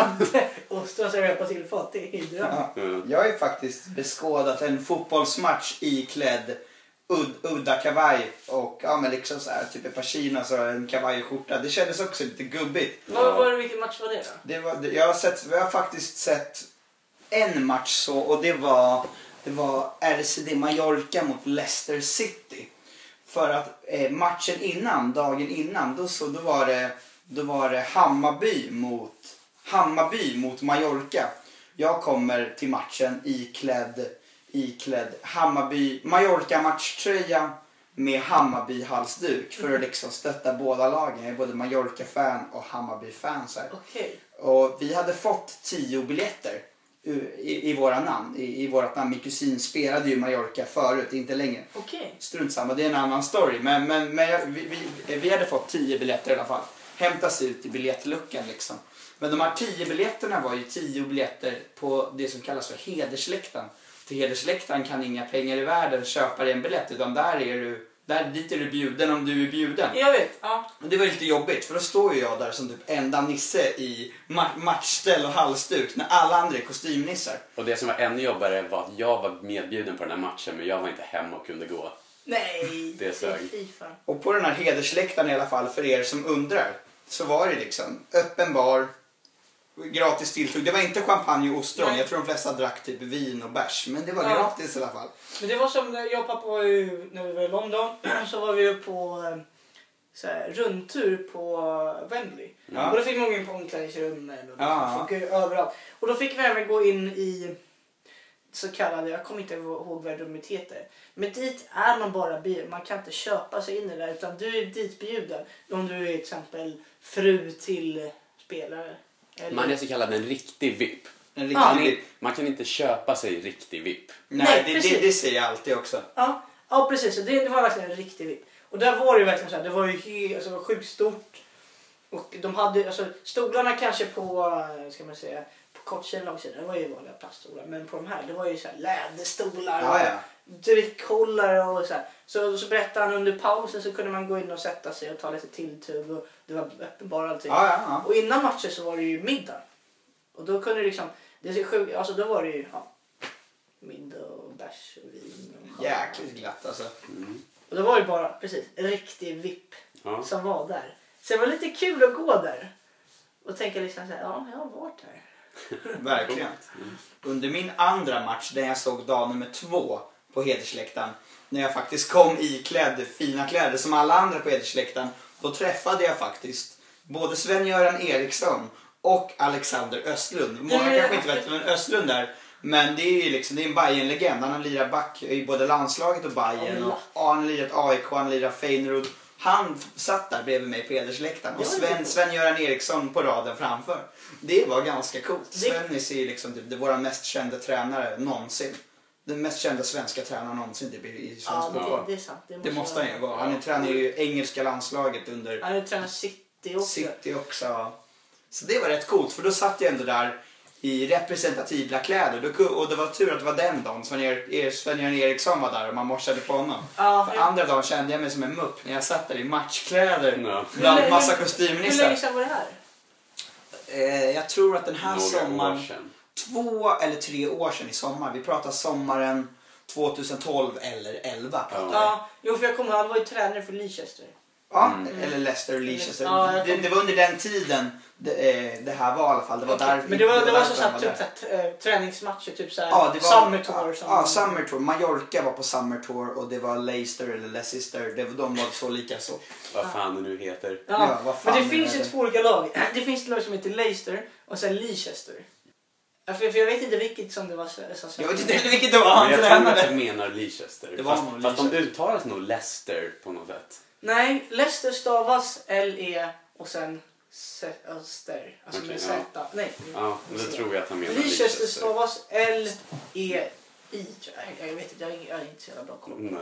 [SPEAKER 3] Ostron serverat på silverfat, det är ju
[SPEAKER 2] Ja.
[SPEAKER 1] Mm.
[SPEAKER 2] Jag har ju faktiskt beskådat en fotbollsmatch iklädd ud, udda kavaj och ja, men liksom så här, typ ett par chinos och en kavaj och skjorta. Det kändes också lite gubbigt.
[SPEAKER 3] Vad var det, vilken match var det då?
[SPEAKER 2] Det var, det- jag, har sett, jag har faktiskt sett en match så och det var, det var RCD Mallorca mot Leicester City. För att eh, matchen innan, dagen innan, då, så, då, var det, då var det Hammarby mot, Hammarby mot Mallorca. Jag kommer till matchen iklädd, iklädd Hammarby, Mallorca matchtröja med Hammarby halsduk för att liksom stötta båda lagen. Jag är både Mallorca-fan och Hammarby-fan. Så här.
[SPEAKER 3] Okej.
[SPEAKER 2] Och vi hade fått tio biljetter u- i, i våra namn. I, i vårat namn. Min kusin spelade ju i Mallorca förut, inte längre.
[SPEAKER 3] Okej.
[SPEAKER 2] Strunt samma, det är en annan story. Men, men, men jag, vi, vi, vi hade fått tio biljetter i alla fall. Hämtas ut i biljettluckan liksom. Men de här tio biljetterna var ju tio biljetter på det som kallas för hedersläktaren. Till hedersläktaren kan inga pengar i världen köpa dig en biljett utan där är du, där, dit är du bjuden om du är bjuden.
[SPEAKER 3] Jag vet. Ja.
[SPEAKER 2] Och det var lite jobbigt för då står ju jag där som typ enda nisse i ma- matchställ och halsduk när alla andra är kostymnissar.
[SPEAKER 1] Och det som var ännu jobbigare var att jag var medbjuden på den här matchen men jag var inte hemma och kunde gå.
[SPEAKER 3] Nej.
[SPEAKER 1] Det sög.
[SPEAKER 3] Fy fan.
[SPEAKER 2] Och på den här hedersläktaren i alla fall för er som undrar så var det liksom öppen bar, gratis tilltugg. Det var inte champagne och ostron.
[SPEAKER 3] Nej.
[SPEAKER 2] Jag tror de flesta drack typ vin och bärs men det var
[SPEAKER 3] Ja.
[SPEAKER 2] gratis i alla fall.
[SPEAKER 3] Men det var som när jag och pappa var ju, när vi var i London så var vi ju på eh, så här, rundtur på eh, Wembley.
[SPEAKER 2] Ja.
[SPEAKER 3] Och då fick man gå in på omklädningsrummen och
[SPEAKER 2] Ja.
[SPEAKER 3] det funkar ju överallt. Och då fick vi även gå in i så kallade, jag kommer inte ihåg vad rummet heter. Men dit är man bara bjuden, man kan inte köpa sig in i det där utan du är dit bjuden. Om du är till exempel fru till spelare. Eller,
[SPEAKER 1] Man är så kallad en riktig VIP.
[SPEAKER 2] En
[SPEAKER 3] Ja.
[SPEAKER 2] riktig
[SPEAKER 1] Man, är,
[SPEAKER 2] VIP.
[SPEAKER 1] man kan inte köpa sig riktig VIP.
[SPEAKER 2] Nej,
[SPEAKER 3] Nej,
[SPEAKER 2] det, det,
[SPEAKER 3] precis.
[SPEAKER 2] det säger jag alltid också.
[SPEAKER 3] Ja, ja precis. Så Det, det var verkligen en riktig vipp. Och där var det ju verkligen så här, det var ju he, alltså, det var sjukt stort. Och de hade, alltså stolarna kanske på, eh, ska man säga, på kortsida och långsida, det var ju vanliga plaststolar. Men på de här, det var ju så här läderstolar
[SPEAKER 2] Ja, ja.
[SPEAKER 3] och dryckhållare och så här. Så, så berättade han under pausen så kunde man gå in och sätta sig och ta lite tilltugg och det var öppen bar och allting.
[SPEAKER 2] Ja, ja, ja.
[SPEAKER 3] Och innan matchen så var det ju middag. Och då kunde det liksom, det är så sjukt, alltså då var det ju, ja. Middag och bärs och vin. Och
[SPEAKER 2] Jäkligt glatt alltså.
[SPEAKER 3] och det var ju bara precis, en riktig VIP
[SPEAKER 1] Ja.
[SPEAKER 3] som var där. Så det var lite kul att gå där. Och tänka liksom så här, ja, jag har varit här.
[SPEAKER 2] Verkligen. Under min andra match där jag såg dag nummer två på hedersläktaren. När jag faktiskt kom iklädd fina kläder som alla andra på hedersläktaren. Då träffade jag faktiskt både Sven-Göran Eriksson och Alexander Östlund. Många
[SPEAKER 3] Nej, men-
[SPEAKER 2] kanske inte vet vem Östlund är. Men det är ju liksom, det är en Bayern-legend. Han har lirat back i både landslaget och Bayern. Och han har lirat AIK, han har lirat Feyenoord. Han satt där bredvid mig på hedersläktaren och
[SPEAKER 3] Ja, det är
[SPEAKER 2] Sven,
[SPEAKER 3] coolt.
[SPEAKER 2] Sven-Göran Eriksson på raden framför. Det var ganska coolt.
[SPEAKER 3] Det-
[SPEAKER 2] Svennis är ju liksom typ, det är vår mest kända tränare någonsin. Den mest kända svenska tränaren någonsin typ, i i svensk
[SPEAKER 3] Ja,
[SPEAKER 2] fotboll.
[SPEAKER 3] det, det är sant.
[SPEAKER 2] Det måste han ju vara. Han är, tränar ju engelska landslaget under
[SPEAKER 3] Han har ju tränat City också.
[SPEAKER 2] City också. Så det var rätt coolt för då satt jag ändå där i representativa kläder. Då ku- Och det var tur att det var den dagen Sven-Göran Sven Eriksson var där och man morsade på honom.
[SPEAKER 3] Ja,
[SPEAKER 2] För
[SPEAKER 3] hur,
[SPEAKER 2] andra dagen kände jag mig som en mupp när jag satt där i matchkläder
[SPEAKER 1] Ja.
[SPEAKER 2] bland massa
[SPEAKER 3] hur länge
[SPEAKER 2] kostymnissar.
[SPEAKER 3] sedan var det här?
[SPEAKER 2] Eh, jag tror att den här
[SPEAKER 1] Några år
[SPEAKER 2] sommaren,
[SPEAKER 1] sedan.
[SPEAKER 2] två eller tre år sedan i sommar, vi pratar sommaren 2012 eller 11. pratar vi.
[SPEAKER 3] Ja, jo för jag kommer ihåg, han var ju tränare för Leicester.
[SPEAKER 2] Ja,
[SPEAKER 1] Mm.
[SPEAKER 2] eller Leicester och Leicester.
[SPEAKER 3] Ja, jag
[SPEAKER 2] det,
[SPEAKER 3] kommer-
[SPEAKER 2] det var under den tiden det, eh, det här var i alla fall. Det var där,
[SPEAKER 3] Men det var, det var
[SPEAKER 2] därför
[SPEAKER 3] så
[SPEAKER 2] han
[SPEAKER 3] här,
[SPEAKER 2] där.
[SPEAKER 3] typ, så här, t- eh, träningsmatcher, typ så här,
[SPEAKER 2] Ja, det var,
[SPEAKER 3] summer tour. som-
[SPEAKER 2] Ja, Summer Tour. Mallorca var på Summer Tour och det var Leicester eller Leicester. Det var, de var så lika så.
[SPEAKER 1] Vad fan det nu heter.
[SPEAKER 3] Ja,
[SPEAKER 2] Ja, vad fan
[SPEAKER 3] men det
[SPEAKER 2] är
[SPEAKER 3] finns
[SPEAKER 2] det?
[SPEAKER 3] ju två olika lag. Det finns ett lag som heter Leicester och sen Leicester. Ja, För, för jag vet inte vilket som det var. Så, så, så.
[SPEAKER 2] Jag vet inte heller vilket det var han
[SPEAKER 1] Men jag tror att
[SPEAKER 2] tränade.
[SPEAKER 1] du menar Leicester.
[SPEAKER 2] Det var
[SPEAKER 1] fast,
[SPEAKER 2] nog
[SPEAKER 1] fast de
[SPEAKER 2] Leicester.
[SPEAKER 1] uttalas nog Leicester på något sätt.
[SPEAKER 3] Nej, Leicester stavas L-E och sen se- Öster. Alltså med
[SPEAKER 1] Okej, ja.
[SPEAKER 3] Z. Nej.
[SPEAKER 1] Ja, men då tror jag att han menar
[SPEAKER 3] Leicester
[SPEAKER 1] Leicester.
[SPEAKER 3] stavas L-E-I. tror jag. Jag vet inte, jag har ing- jag har inte så jävla bra koll.
[SPEAKER 1] Nej.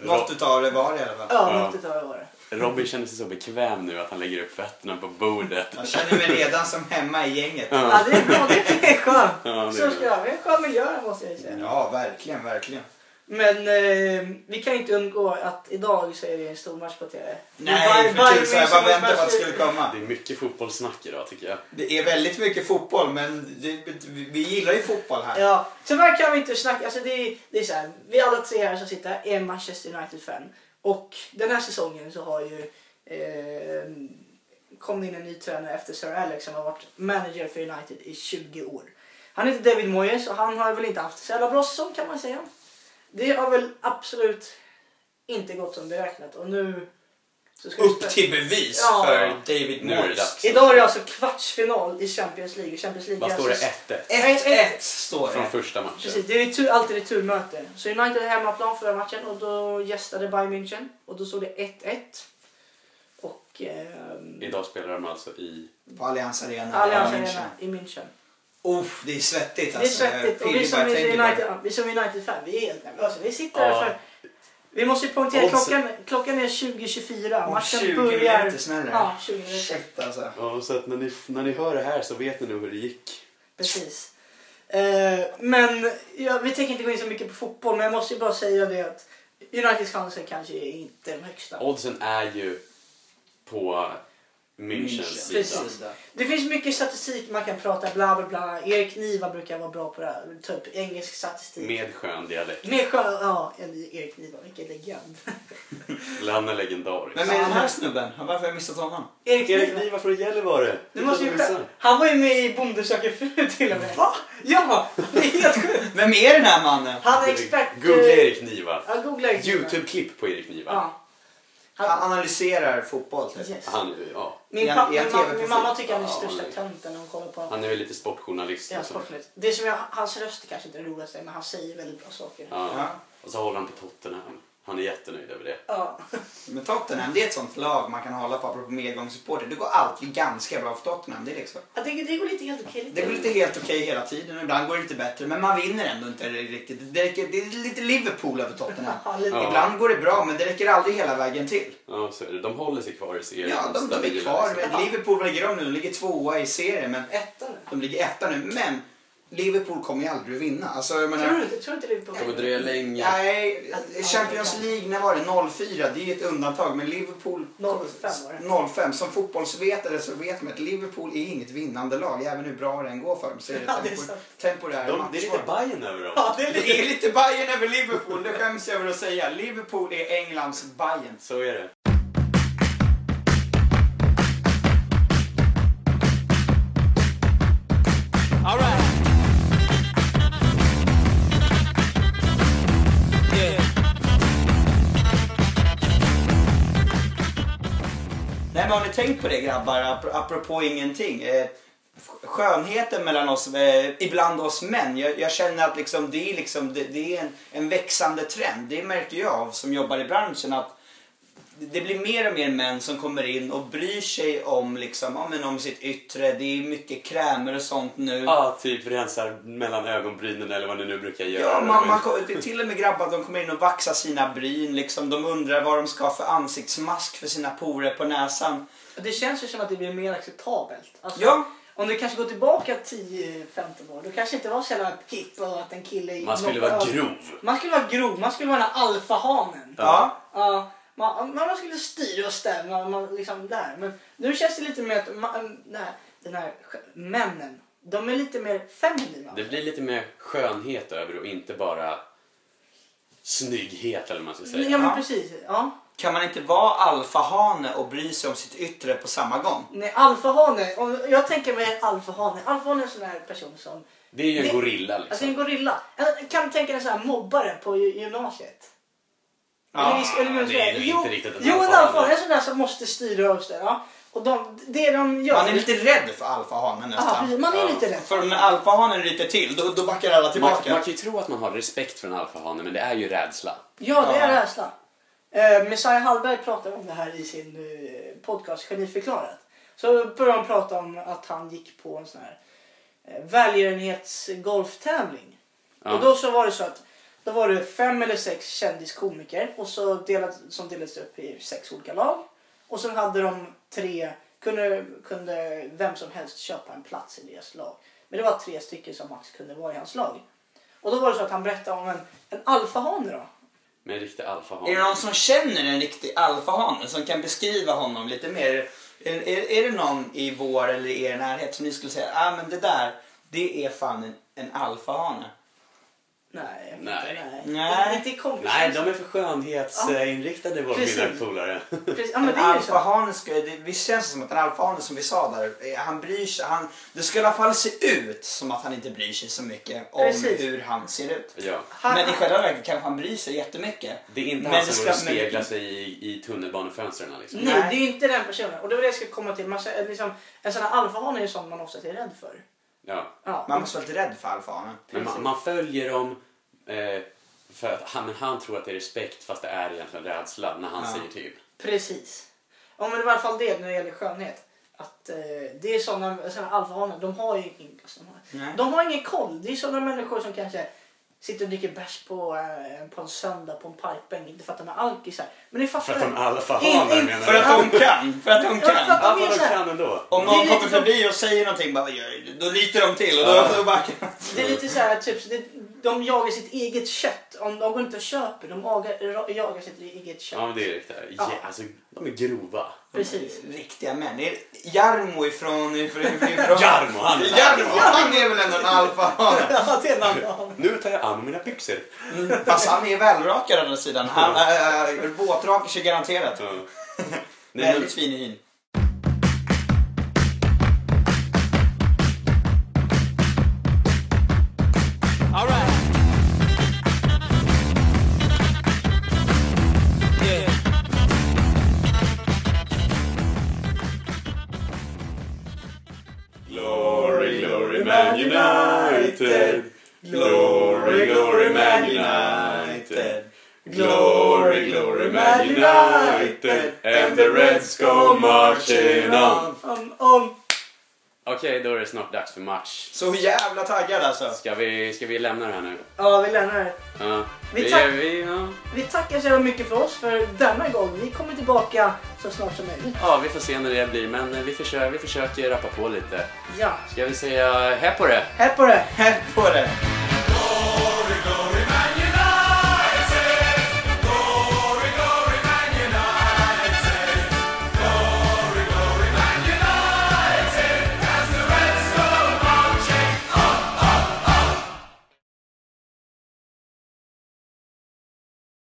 [SPEAKER 2] Något utav det var det i alla fall.
[SPEAKER 3] Ja,
[SPEAKER 1] Mm. Ja.
[SPEAKER 3] något utav det var det.
[SPEAKER 1] Robin känner sig så bekväm nu att han lägger upp fötterna på bordet.
[SPEAKER 2] Jag känner mig redan som hemma i gänget.
[SPEAKER 3] Ja, det är bra. Det är
[SPEAKER 1] Ja, det är
[SPEAKER 3] skönt. Så ska
[SPEAKER 1] bra.
[SPEAKER 3] jag ha. Det är en skön miljö här, måste jag säga.
[SPEAKER 2] Ja, verkligen, verkligen.
[SPEAKER 3] Men eh, vi kan inte undgå att idag så är det en stor match på TV.
[SPEAKER 2] Nej,
[SPEAKER 3] Bayern-
[SPEAKER 2] för tusan. Jag bara
[SPEAKER 3] Bayern
[SPEAKER 2] väntade på att det
[SPEAKER 3] München-
[SPEAKER 2] skulle komma.
[SPEAKER 1] Det är mycket fotbollssnack idag tycker jag.
[SPEAKER 2] Det är väldigt mycket fotboll, men det, vi vi gillar ju fotboll här.
[SPEAKER 3] Ja, tyvärr kan vi inte snacka. Alltså det, är- det är så här, vi alla tre här som sitter här är Manchester United-fan. Och den här säsongen så har ju eh, kom det in en ny tränare efter Sir Alex som har varit manager för United i 20 år. Han heter David Moyes och han har väl inte haft så jävla bra säsong kan man säga. Det har väl absolut inte gått som beräknat och nu... Så ska vi
[SPEAKER 2] Upp
[SPEAKER 3] spela-
[SPEAKER 2] till bevis
[SPEAKER 3] Ja.
[SPEAKER 2] för David
[SPEAKER 1] Nu är det
[SPEAKER 2] Moyes.
[SPEAKER 1] dags.
[SPEAKER 3] Idag är det alltså kvartsfinal i Champions League. Champions League
[SPEAKER 1] Vad
[SPEAKER 3] är
[SPEAKER 1] står det?
[SPEAKER 3] alltså-
[SPEAKER 1] 1-1
[SPEAKER 2] 1-1 står
[SPEAKER 1] från
[SPEAKER 2] det.
[SPEAKER 1] första matchen.
[SPEAKER 3] Precis, det är tur, alltid ett turmöte. Så United är hemmaplan förra matchen och då gästade Bayern München och då stod det 1-1. Och ehm,
[SPEAKER 1] Idag spelar de alltså i...
[SPEAKER 2] På Allianz Arena.
[SPEAKER 3] Allianz
[SPEAKER 2] Ja,
[SPEAKER 3] Arena
[SPEAKER 2] München.
[SPEAKER 3] i München.
[SPEAKER 2] Uff, det är svettigt
[SPEAKER 3] Det är
[SPEAKER 2] alltså.
[SPEAKER 3] svettigt
[SPEAKER 2] Jag
[SPEAKER 3] och vi
[SPEAKER 2] pirrar
[SPEAKER 3] som
[SPEAKER 2] bara jag
[SPEAKER 3] är
[SPEAKER 2] tänker på det.
[SPEAKER 3] United- vi som är United-fan, vi är helt nervösa. Vi sitter här
[SPEAKER 1] Ja.
[SPEAKER 3] för... Vi måste ju poängtera,
[SPEAKER 1] Oddsen-
[SPEAKER 3] klockan, klockan är 20.24.
[SPEAKER 2] Om
[SPEAKER 3] Matchen
[SPEAKER 2] 20
[SPEAKER 3] börjar...
[SPEAKER 2] minuter smäller det.
[SPEAKER 3] Ja, 20 minuter.
[SPEAKER 2] Shit alltså.
[SPEAKER 1] Ja, så att när ni, när ni hör det här så vet ni nog hur det gick.
[SPEAKER 3] Precis. Eh, men ja, vi tänker inte gå in så mycket på fotboll, men jag måste ju bara säga det att Uniteds chanser kanske är inte de högsta.
[SPEAKER 1] Oddsen är ju på
[SPEAKER 2] München.
[SPEAKER 1] Münchens sida.
[SPEAKER 3] Precis. Det finns mycket statistik man kan prata bla bla bla. Erik Niva brukar vara bra på det här. Typ engelsk statistik.
[SPEAKER 1] Med skön dialekt.
[SPEAKER 3] Mer skön, ja, en Erik Niva. Vilken legend.
[SPEAKER 1] Eller Han är legendarisk.
[SPEAKER 2] Vem är den här snubben? Varför har jag missat honom?
[SPEAKER 3] Erik,
[SPEAKER 1] Erik
[SPEAKER 3] Niva.
[SPEAKER 1] Niva från Gällivare.
[SPEAKER 3] Du måste ju
[SPEAKER 1] Utan att missa.
[SPEAKER 3] själv- Han var ju med i Bonde söker fru till och med. Va? Ja, det är helt sjukt.
[SPEAKER 2] Vem är den här mannen?
[SPEAKER 3] Han är expert. eh,
[SPEAKER 1] Googla Erik Niva.
[SPEAKER 3] Ja, googla Erik Niva.
[SPEAKER 1] Youtube-klipp på Erik Niva.
[SPEAKER 3] Ja.
[SPEAKER 2] Han analyserar fotboll typ.
[SPEAKER 3] Yes.
[SPEAKER 1] Han, ja,
[SPEAKER 3] Min,
[SPEAKER 2] Är han-
[SPEAKER 3] pappa,
[SPEAKER 2] är
[SPEAKER 3] min,
[SPEAKER 2] han
[SPEAKER 3] mamma,
[SPEAKER 2] TV-profil?
[SPEAKER 3] min mamma tycker han är
[SPEAKER 1] Ja,
[SPEAKER 3] största
[SPEAKER 1] han är-
[SPEAKER 3] tönten när hon kollar på honom.
[SPEAKER 1] han är väl lite sportjournalist.
[SPEAKER 3] Ja,
[SPEAKER 1] och så.
[SPEAKER 3] sportligt. Det som jag, hans röst är kanske inte den roligaste, men han säger väldigt bra saker.
[SPEAKER 1] Ja.
[SPEAKER 2] Ja.
[SPEAKER 1] Och så håller han på Tottenham. Han är jättenöjd över det.
[SPEAKER 3] Ja.
[SPEAKER 2] Men Tottenham det är ett sånt lag man kan hålla på apropå medgångssupporter. Det går alltid ganska bra för Tottenham. Det, är liksom,
[SPEAKER 3] Jag tänker det går lite helt okej.
[SPEAKER 2] det går lite helt okej hela tiden. Ibland går det lite bättre men man vinner ändå inte riktigt. Det, räcker, det är lite Liverpool över Tottenham.
[SPEAKER 3] Ja, lite.
[SPEAKER 1] Ja.
[SPEAKER 2] Ibland går det bra men det räcker aldrig hela vägen till.
[SPEAKER 1] Ja, så är det. De håller sig kvar i serien.
[SPEAKER 2] Ja, de, de är
[SPEAKER 1] Stabila,
[SPEAKER 2] kvar.
[SPEAKER 1] liksom.
[SPEAKER 2] Men Liverpool vad ligger de nu? De ligger tvåa i serien men
[SPEAKER 3] Etta nu.
[SPEAKER 2] de ligger etta nu. Men Liverpool kommer ju aldrig att vinna. Alltså, jag menar,
[SPEAKER 3] Tror du inte, tror du inte Liverpool
[SPEAKER 1] Det kommer dröja länge.
[SPEAKER 2] Nej, Champions League, när var det? 04, det är ett undantag. Men Liverpool...
[SPEAKER 3] 05 var
[SPEAKER 2] 05. Som fotbollsvetare så vet man att Liverpool är inget vinnande lag. Även hur bra det än går för dem så är det
[SPEAKER 3] Ja, det är
[SPEAKER 2] tempor-
[SPEAKER 3] sant.
[SPEAKER 2] temporära
[SPEAKER 1] De, det är lite
[SPEAKER 2] matchform.
[SPEAKER 1] Bajen över dem.
[SPEAKER 3] Ja, det är lite...
[SPEAKER 2] Det är lite Bayern över Liverpool, det skäms jag över att säga. Liverpool är Englands Bayern.
[SPEAKER 1] Så är det.
[SPEAKER 4] All right. Yeah.
[SPEAKER 2] Nej men har ni tänkt på det grabbar, ap- apropå ingenting? Eh, skönheten mellan oss, eh, ibland oss män. Jag, jag känner att liksom, det är, liksom, det, det är en, en växande trend. Det märker jag av som jobbar i branschen att det blir mer och mer män som kommer in och bryr sig om, liksom, ja, men om sitt yttre. Det är mycket krämer och sånt nu.
[SPEAKER 3] Mm.
[SPEAKER 1] Ja, typ rensar mellan ögonbrynen eller vad ni nu brukar göra.
[SPEAKER 2] Ja, man, man, kom- det är till och med grabbar de kommer in och vaxar sina bryn. Liksom. De undrar vad de ska ha för ansiktsmask för sina porer på näsan.
[SPEAKER 3] Det känns ju som att det blir mer acceptabelt. Alltså,
[SPEAKER 2] Ja.
[SPEAKER 3] Om du kanske går tillbaka 10-15 år, då kanske inte var så jävla hipp och att en kille...
[SPEAKER 1] Man skulle vara grov.
[SPEAKER 3] Man skulle vara grov, man skulle vara den här alfahanen.
[SPEAKER 1] Ja.
[SPEAKER 2] ja.
[SPEAKER 3] Ja, man, man man skulle styra och ställa. Man, man, liksom där. Men nu känns det lite mer att man, den, här, den här sk- männen, de är lite mer feminina.
[SPEAKER 1] Det blir lite mer skönhet över det och inte bara snygghet eller vad man ska säga.
[SPEAKER 3] ja, men
[SPEAKER 2] Ja.
[SPEAKER 3] precis. Ja.
[SPEAKER 2] Kan man inte vara alfahane och bry sig om sitt yttre på samma gång?
[SPEAKER 3] Nej, alfahane. Om- Jag tänker mig en alfahane. Alfahane är en sån här person som...
[SPEAKER 1] Det är ju en
[SPEAKER 3] Det-
[SPEAKER 1] gorilla
[SPEAKER 3] Alltså en
[SPEAKER 1] liksom.
[SPEAKER 3] gorilla. Jag kan tänka dig en sån här mobbare på ju- gymnasiet.
[SPEAKER 2] Ja,
[SPEAKER 3] vi- vi-
[SPEAKER 1] det är
[SPEAKER 3] jo,
[SPEAKER 1] inte riktigt en
[SPEAKER 3] Jo, en
[SPEAKER 1] alfahane.
[SPEAKER 3] alfahane är en sån där som måste styra och ställa. Ja. Och de, det de gör...
[SPEAKER 2] Man är lite rädd för alfahanen
[SPEAKER 3] Ja, precis.
[SPEAKER 2] nästan.
[SPEAKER 3] man är
[SPEAKER 1] Ja.
[SPEAKER 3] lite rädd.
[SPEAKER 2] För när alfahanen ryter till, då, då backar alla
[SPEAKER 1] Man, man
[SPEAKER 2] tillbaka.
[SPEAKER 1] kan ju tro att man har respekt för en alfahane men det är ju rädsla.
[SPEAKER 3] Ja, det är
[SPEAKER 2] Ja.
[SPEAKER 3] rädsla. Eh, Messiah Hallberg pratar om det här i sin eh, podcast Geniförklarat. Så börjar han prata om att han gick på en sån här eh, välgörenhetsgolftävling.
[SPEAKER 1] Ja.
[SPEAKER 3] Och då så var det så att då var det fem eller sex kändiskomiker och så delat, som delades upp i sex olika lag. Och sen hade de tre, kunde, kunde vem som helst köpa en plats i deras lag. Men det var tre stycken som max kunde vara i hans lag. Och då var det så att han berättade om en, en alfahane då.
[SPEAKER 1] Med en riktig alfahane.
[SPEAKER 2] Är det någon som känner en riktig alfahane som kan beskriva honom lite mer? Är, är, är det någon i vår eller i er närhet som ni skulle säga, ah, men det där, det är fan en, en alfahane?
[SPEAKER 3] Nej, jag vet
[SPEAKER 1] Nej.
[SPEAKER 3] inte. Nej.
[SPEAKER 2] Nej.
[SPEAKER 3] Inte i kompis.
[SPEAKER 1] Nej, de är för skönhetsinriktade våra
[SPEAKER 3] Precis.
[SPEAKER 1] mina polare.
[SPEAKER 3] Precis. Ja, men
[SPEAKER 2] en
[SPEAKER 3] det är ju så.
[SPEAKER 2] alfahane, ska- det- visst känns det som att en alfahane som vi sa där, eh, han bryr sig. Han, det ska i alla fall se ut som att han inte bryr sig så mycket om
[SPEAKER 3] Precis.
[SPEAKER 2] hur han ser ut.
[SPEAKER 1] Ja.
[SPEAKER 3] Han-
[SPEAKER 2] Men i själva verket kanske han bryr sig jättemycket.
[SPEAKER 1] Det är inte
[SPEAKER 2] Men
[SPEAKER 1] han
[SPEAKER 2] det
[SPEAKER 1] som
[SPEAKER 2] ska-
[SPEAKER 1] går och
[SPEAKER 2] men-
[SPEAKER 1] speglar sig i, i tunnelbanefönstren liksom.
[SPEAKER 3] Nej,
[SPEAKER 2] Nej.
[SPEAKER 3] det är ju inte den personen. Och det var det jag skulle komma till. Man, ser- liksom, en sån här alfahane är ju sån man oftast är rädd för.
[SPEAKER 1] Ja.
[SPEAKER 3] Ja.
[SPEAKER 2] Man måste vara lite rädd för alfahanen.
[SPEAKER 1] Men man, man följer dem eh, för att han, men han tror att det är respekt fast det är egentligen rädsla när han
[SPEAKER 2] Ja.
[SPEAKER 1] säger typ- till.
[SPEAKER 3] Precis. Ja, men det var i alla fall det när det gäller skönhet. Att eh, det är sådana, sådana alfahanar, de har ju ingen, alltså, de,
[SPEAKER 2] Nej.
[SPEAKER 3] har, de har ingen koll. Det är sådana människor som kanske sitter och dricker bärs på, eh, på en söndag på en parkbänk. Inte för att de är alkisar. Men ni
[SPEAKER 1] För
[SPEAKER 3] fattar.
[SPEAKER 1] att de är alfahanar
[SPEAKER 3] In- in-
[SPEAKER 1] menar
[SPEAKER 2] För
[SPEAKER 1] du?
[SPEAKER 2] att de kan! För att de
[SPEAKER 3] Ja, för att
[SPEAKER 2] kan!
[SPEAKER 1] Ja,
[SPEAKER 3] de är
[SPEAKER 1] för
[SPEAKER 3] så
[SPEAKER 1] de
[SPEAKER 3] här-
[SPEAKER 1] kan ändå.
[SPEAKER 2] Om
[SPEAKER 3] Det är
[SPEAKER 2] någon
[SPEAKER 3] lite
[SPEAKER 2] kommer
[SPEAKER 3] som-
[SPEAKER 2] förbi och säger någonting, bara, "Vad gör du?" då ryter de till och då,
[SPEAKER 1] Ja.
[SPEAKER 2] då backar
[SPEAKER 3] Det är lite så här, typ, så det, de jagar sitt eget kött. Om de går inte och köper, de jagar, ra- jagar sitt eget kött.
[SPEAKER 1] Ja, men det är riktigt. Ja.
[SPEAKER 3] Ja.
[SPEAKER 1] alltså, de är grova.
[SPEAKER 3] Precis.
[SPEAKER 2] de. Riktiga män. Är det Jarmo ifrån... ifrån, ifrån
[SPEAKER 1] Jarmo, han är-
[SPEAKER 2] Jarmo! Han är väl ändå en alfahane?
[SPEAKER 3] Ja, det är en annan.
[SPEAKER 1] Nu tar jag av mig mina byxor.
[SPEAKER 2] Fast han är välrakad å andra sidan. Han äh, äh, våtrakar sig garanterat.
[SPEAKER 1] Ja. Nej, men,
[SPEAKER 2] Väldigt fin hyn.
[SPEAKER 4] All right. Yeah.
[SPEAKER 1] glory, glory man united. Glory, glory man united. Glory, United and the Reds go marching on.
[SPEAKER 3] Om, om.
[SPEAKER 1] Okej, då är det snart dags för match.
[SPEAKER 2] Så jävla taggad alltså.
[SPEAKER 1] Ska vi, ska vi lämna det här nu?
[SPEAKER 3] Ja, vi lämnar det.
[SPEAKER 1] Ja.
[SPEAKER 3] Vi
[SPEAKER 1] vi,
[SPEAKER 3] tack-
[SPEAKER 1] vi, ja.
[SPEAKER 3] Vi tackar så jävla mycket för oss för denna gång. Vi kommer tillbaka så snart som möjligt.
[SPEAKER 1] ja, vi får se när det blir, men vi försöker, vi försöker rappa på lite.
[SPEAKER 3] Ja,
[SPEAKER 1] Ska vi säga hej på det?
[SPEAKER 3] hej på det!
[SPEAKER 2] Hej